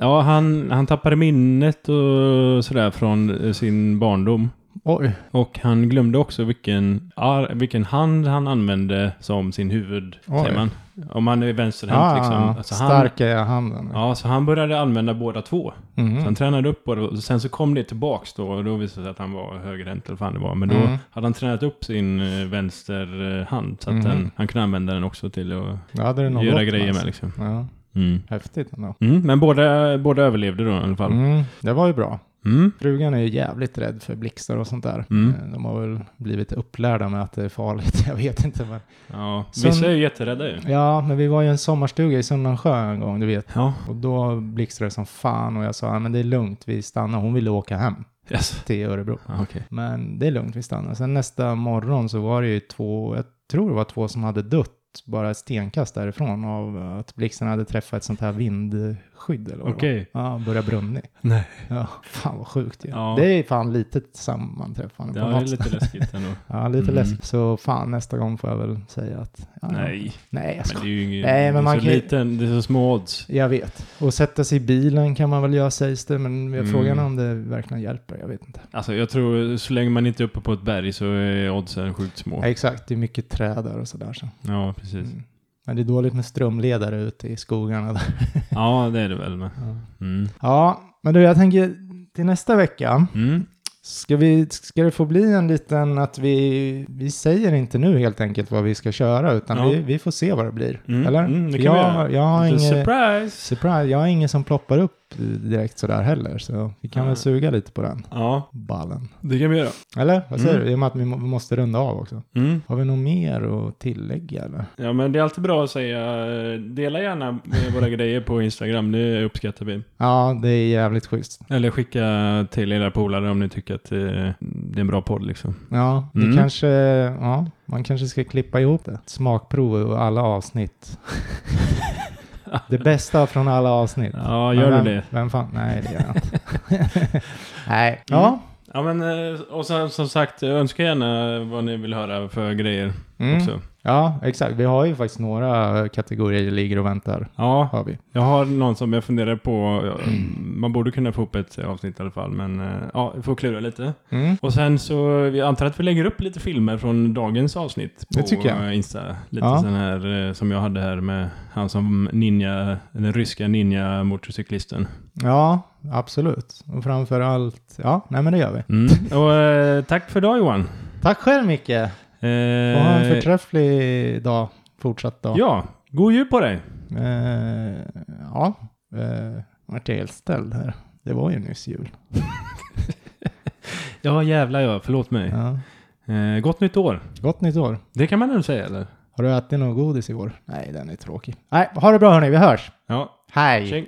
Speaker 1: Ja, han, han tappade minnet och sådär från eh, sin barndom.
Speaker 2: Oj.
Speaker 1: Och han glömde också vilken, ar- vilken hand han använde som sin huvud,
Speaker 2: Oj.
Speaker 1: säger man. Om han är vänsterhänt
Speaker 2: Ja,
Speaker 1: liksom.
Speaker 2: Ah, ja,
Speaker 1: Alltså han,
Speaker 2: Stark är handen.
Speaker 1: Ja, så han började använda båda två. Så
Speaker 2: Mhm.
Speaker 1: han tränade upp båda och sen så kom det tillbaks då och då visade det sig att han var högerhänt eller vad fan det var. Men då
Speaker 2: Mm.
Speaker 1: hade han tränat upp sin eh, vänster eh, hand så att
Speaker 2: Mhm.
Speaker 1: den, han kunde använda den också till att
Speaker 2: Då hade det nog
Speaker 1: göra
Speaker 2: gått,
Speaker 1: grejer
Speaker 2: alltså.
Speaker 1: med liksom.
Speaker 2: Ja.
Speaker 1: Mm.
Speaker 2: Häftigt ändå.
Speaker 1: Mm, men båda, båda överlevde då i alla fall.
Speaker 2: Mm. Det var ju bra.
Speaker 1: Mm.
Speaker 2: Frugan är ju jävligt rädd för blixtar och sånt där.
Speaker 1: Mm.
Speaker 2: Eh, De har väl blivit upplärda med att det är farligt. Jag vet inte. Men...
Speaker 1: Ja,
Speaker 2: Sen-
Speaker 1: vissa är ju jätterädda ju.
Speaker 2: Ja, men vi var ju i en sommarstuga i Sunnansjö en gång, du vet.
Speaker 1: Ja,
Speaker 2: Och då blixtrade det som fan och jag sa, "Ja, men det är lugnt, vi stannar. Hon ville åka hem
Speaker 1: yes.
Speaker 2: till Örebro.
Speaker 1: Ja, okej.
Speaker 2: Men det är lugnt, vi stannar. Sen nästa morgon så var det ju två, jag tror det var två som hade dött bara ett stenkast därifrån av att blixten hade träffat ett sånt här vindskydd eller vad det var.
Speaker 1: Okej.
Speaker 2: Ja, började brunna.
Speaker 1: Nej.
Speaker 2: Ja, fan vad sjukt ju.
Speaker 1: Ja.
Speaker 2: Det är fan litet sammanträffande
Speaker 1: Det
Speaker 2: på
Speaker 1: är
Speaker 2: något
Speaker 1: lite
Speaker 2: sätt.
Speaker 1: läskigt ändå.
Speaker 2: Ja, lite
Speaker 1: Mm.
Speaker 2: läskigt. Så fan, nästa gång får jag väl säga att... ja,
Speaker 1: Nej,
Speaker 2: Nej, jag
Speaker 1: men
Speaker 2: skojar.
Speaker 1: det är ju ingen,
Speaker 2: Nej, men
Speaker 1: det är
Speaker 2: man
Speaker 1: så
Speaker 2: kan ju-
Speaker 1: liten, det är så små odds.
Speaker 2: Jag vet. Och sätta sig i bilen kan man väl göra sägs det, men jag
Speaker 1: Mm.
Speaker 2: frågan är om det verkligen hjälper. Jag vet inte.
Speaker 1: Alltså jag tror, så länge man inte är uppe på ett berg så är oddsen sjukt små.
Speaker 2: Ja, exakt, det är mycket träd där och sådär. Så.
Speaker 1: Ja, precis.
Speaker 2: Mm. Men det är dåligt med strömledare ute i skogarna. Där.
Speaker 1: Ja, det är det väl med. Mm.
Speaker 2: Ja, men du, jag tänker till nästa vecka.
Speaker 1: Mm.
Speaker 2: Ska, vi, ska det få bli en liten att vi, vi säger inte nu helt enkelt vad vi ska köra utan
Speaker 1: Ja.
Speaker 2: vi, vi får se vad det blir.
Speaker 1: Mm,
Speaker 2: Eller?
Speaker 1: mm, det kan vi göra.
Speaker 2: jag, jag har
Speaker 1: Lite
Speaker 2: inget,
Speaker 1: Surprise!
Speaker 2: surprise, jag har ingen som ploppar upp direkt sådär heller så vi kan
Speaker 1: Ja.
Speaker 2: väl suga lite på den
Speaker 1: Ja,
Speaker 2: ballen.
Speaker 1: det kan vi göra.
Speaker 2: Eller vad säger
Speaker 1: Mm.
Speaker 2: du? I och med att vi må- vi måste runda av också.
Speaker 1: Mm.
Speaker 2: Har vi något mer att tillägga eller?
Speaker 1: Ja, men det är alltid bra att säga, eh, dela gärna med våra grejer på Instagram, det uppskattar vi.
Speaker 2: Ja, det är jävligt schysst.
Speaker 1: Eller skicka till era polare om ni tycker att eh, det är en bra podd liksom.
Speaker 2: Ja, det
Speaker 1: Mm.
Speaker 2: kanske, ja, man kanske ska klippa ihop det. Smakprov och alla avsnitt. det bästa från alla avsnitt.
Speaker 1: Ja, gör
Speaker 2: Men
Speaker 1: du
Speaker 2: vem,
Speaker 1: det?
Speaker 2: Vem fan? Nej, det gör jag inte. Nej. Ja.
Speaker 1: Ja men eh, och sen, som sagt önska gärna vad ni vill höra för grejer
Speaker 2: Mm.
Speaker 1: också.
Speaker 2: Ja, exakt. Vi har ju faktiskt några kategorier ligger och väntar.
Speaker 1: Ja,
Speaker 2: Har vi.
Speaker 1: jag har någon som jag funderar på. ja, Man borde kunna få upp ett avsnitt i alla fall, men eh, ja, vi får klura lite.
Speaker 2: Mm.
Speaker 1: Och sen så, vi antar att vi lägger upp lite filmer från dagens avsnitt på
Speaker 2: Det tycker jag.
Speaker 1: eh, Insta. Lite
Speaker 2: Ja.
Speaker 1: sån här eh, som jag hade här med han som ninja, den ryska ninja-motorcyklisten.
Speaker 2: Ja, absolut. Och framför allt, ja, nej men det gör vi.
Speaker 1: Mm. Och eh, tack för idag Johan.
Speaker 2: Tack själv Micke. Och ha en
Speaker 1: Eh,
Speaker 2: förträfflig dag, fortsatt dag.
Speaker 1: ja, god jul på dig.
Speaker 2: Eh, ja, eh, vart jag helt ställd här. Det var ju nyss jul.
Speaker 1: Ja, jävlar ja. Förlåt mig.
Speaker 2: Ja.
Speaker 1: Eh, gott nytt år.
Speaker 2: Gott nytt år.
Speaker 1: Det kan man ändå säga eller?
Speaker 2: Har du ätit något godis i år? Nej, den är tråkig. Nej, ha det bra hörni, vi hörs.
Speaker 1: Ja,
Speaker 2: Hej!
Speaker 1: tjing.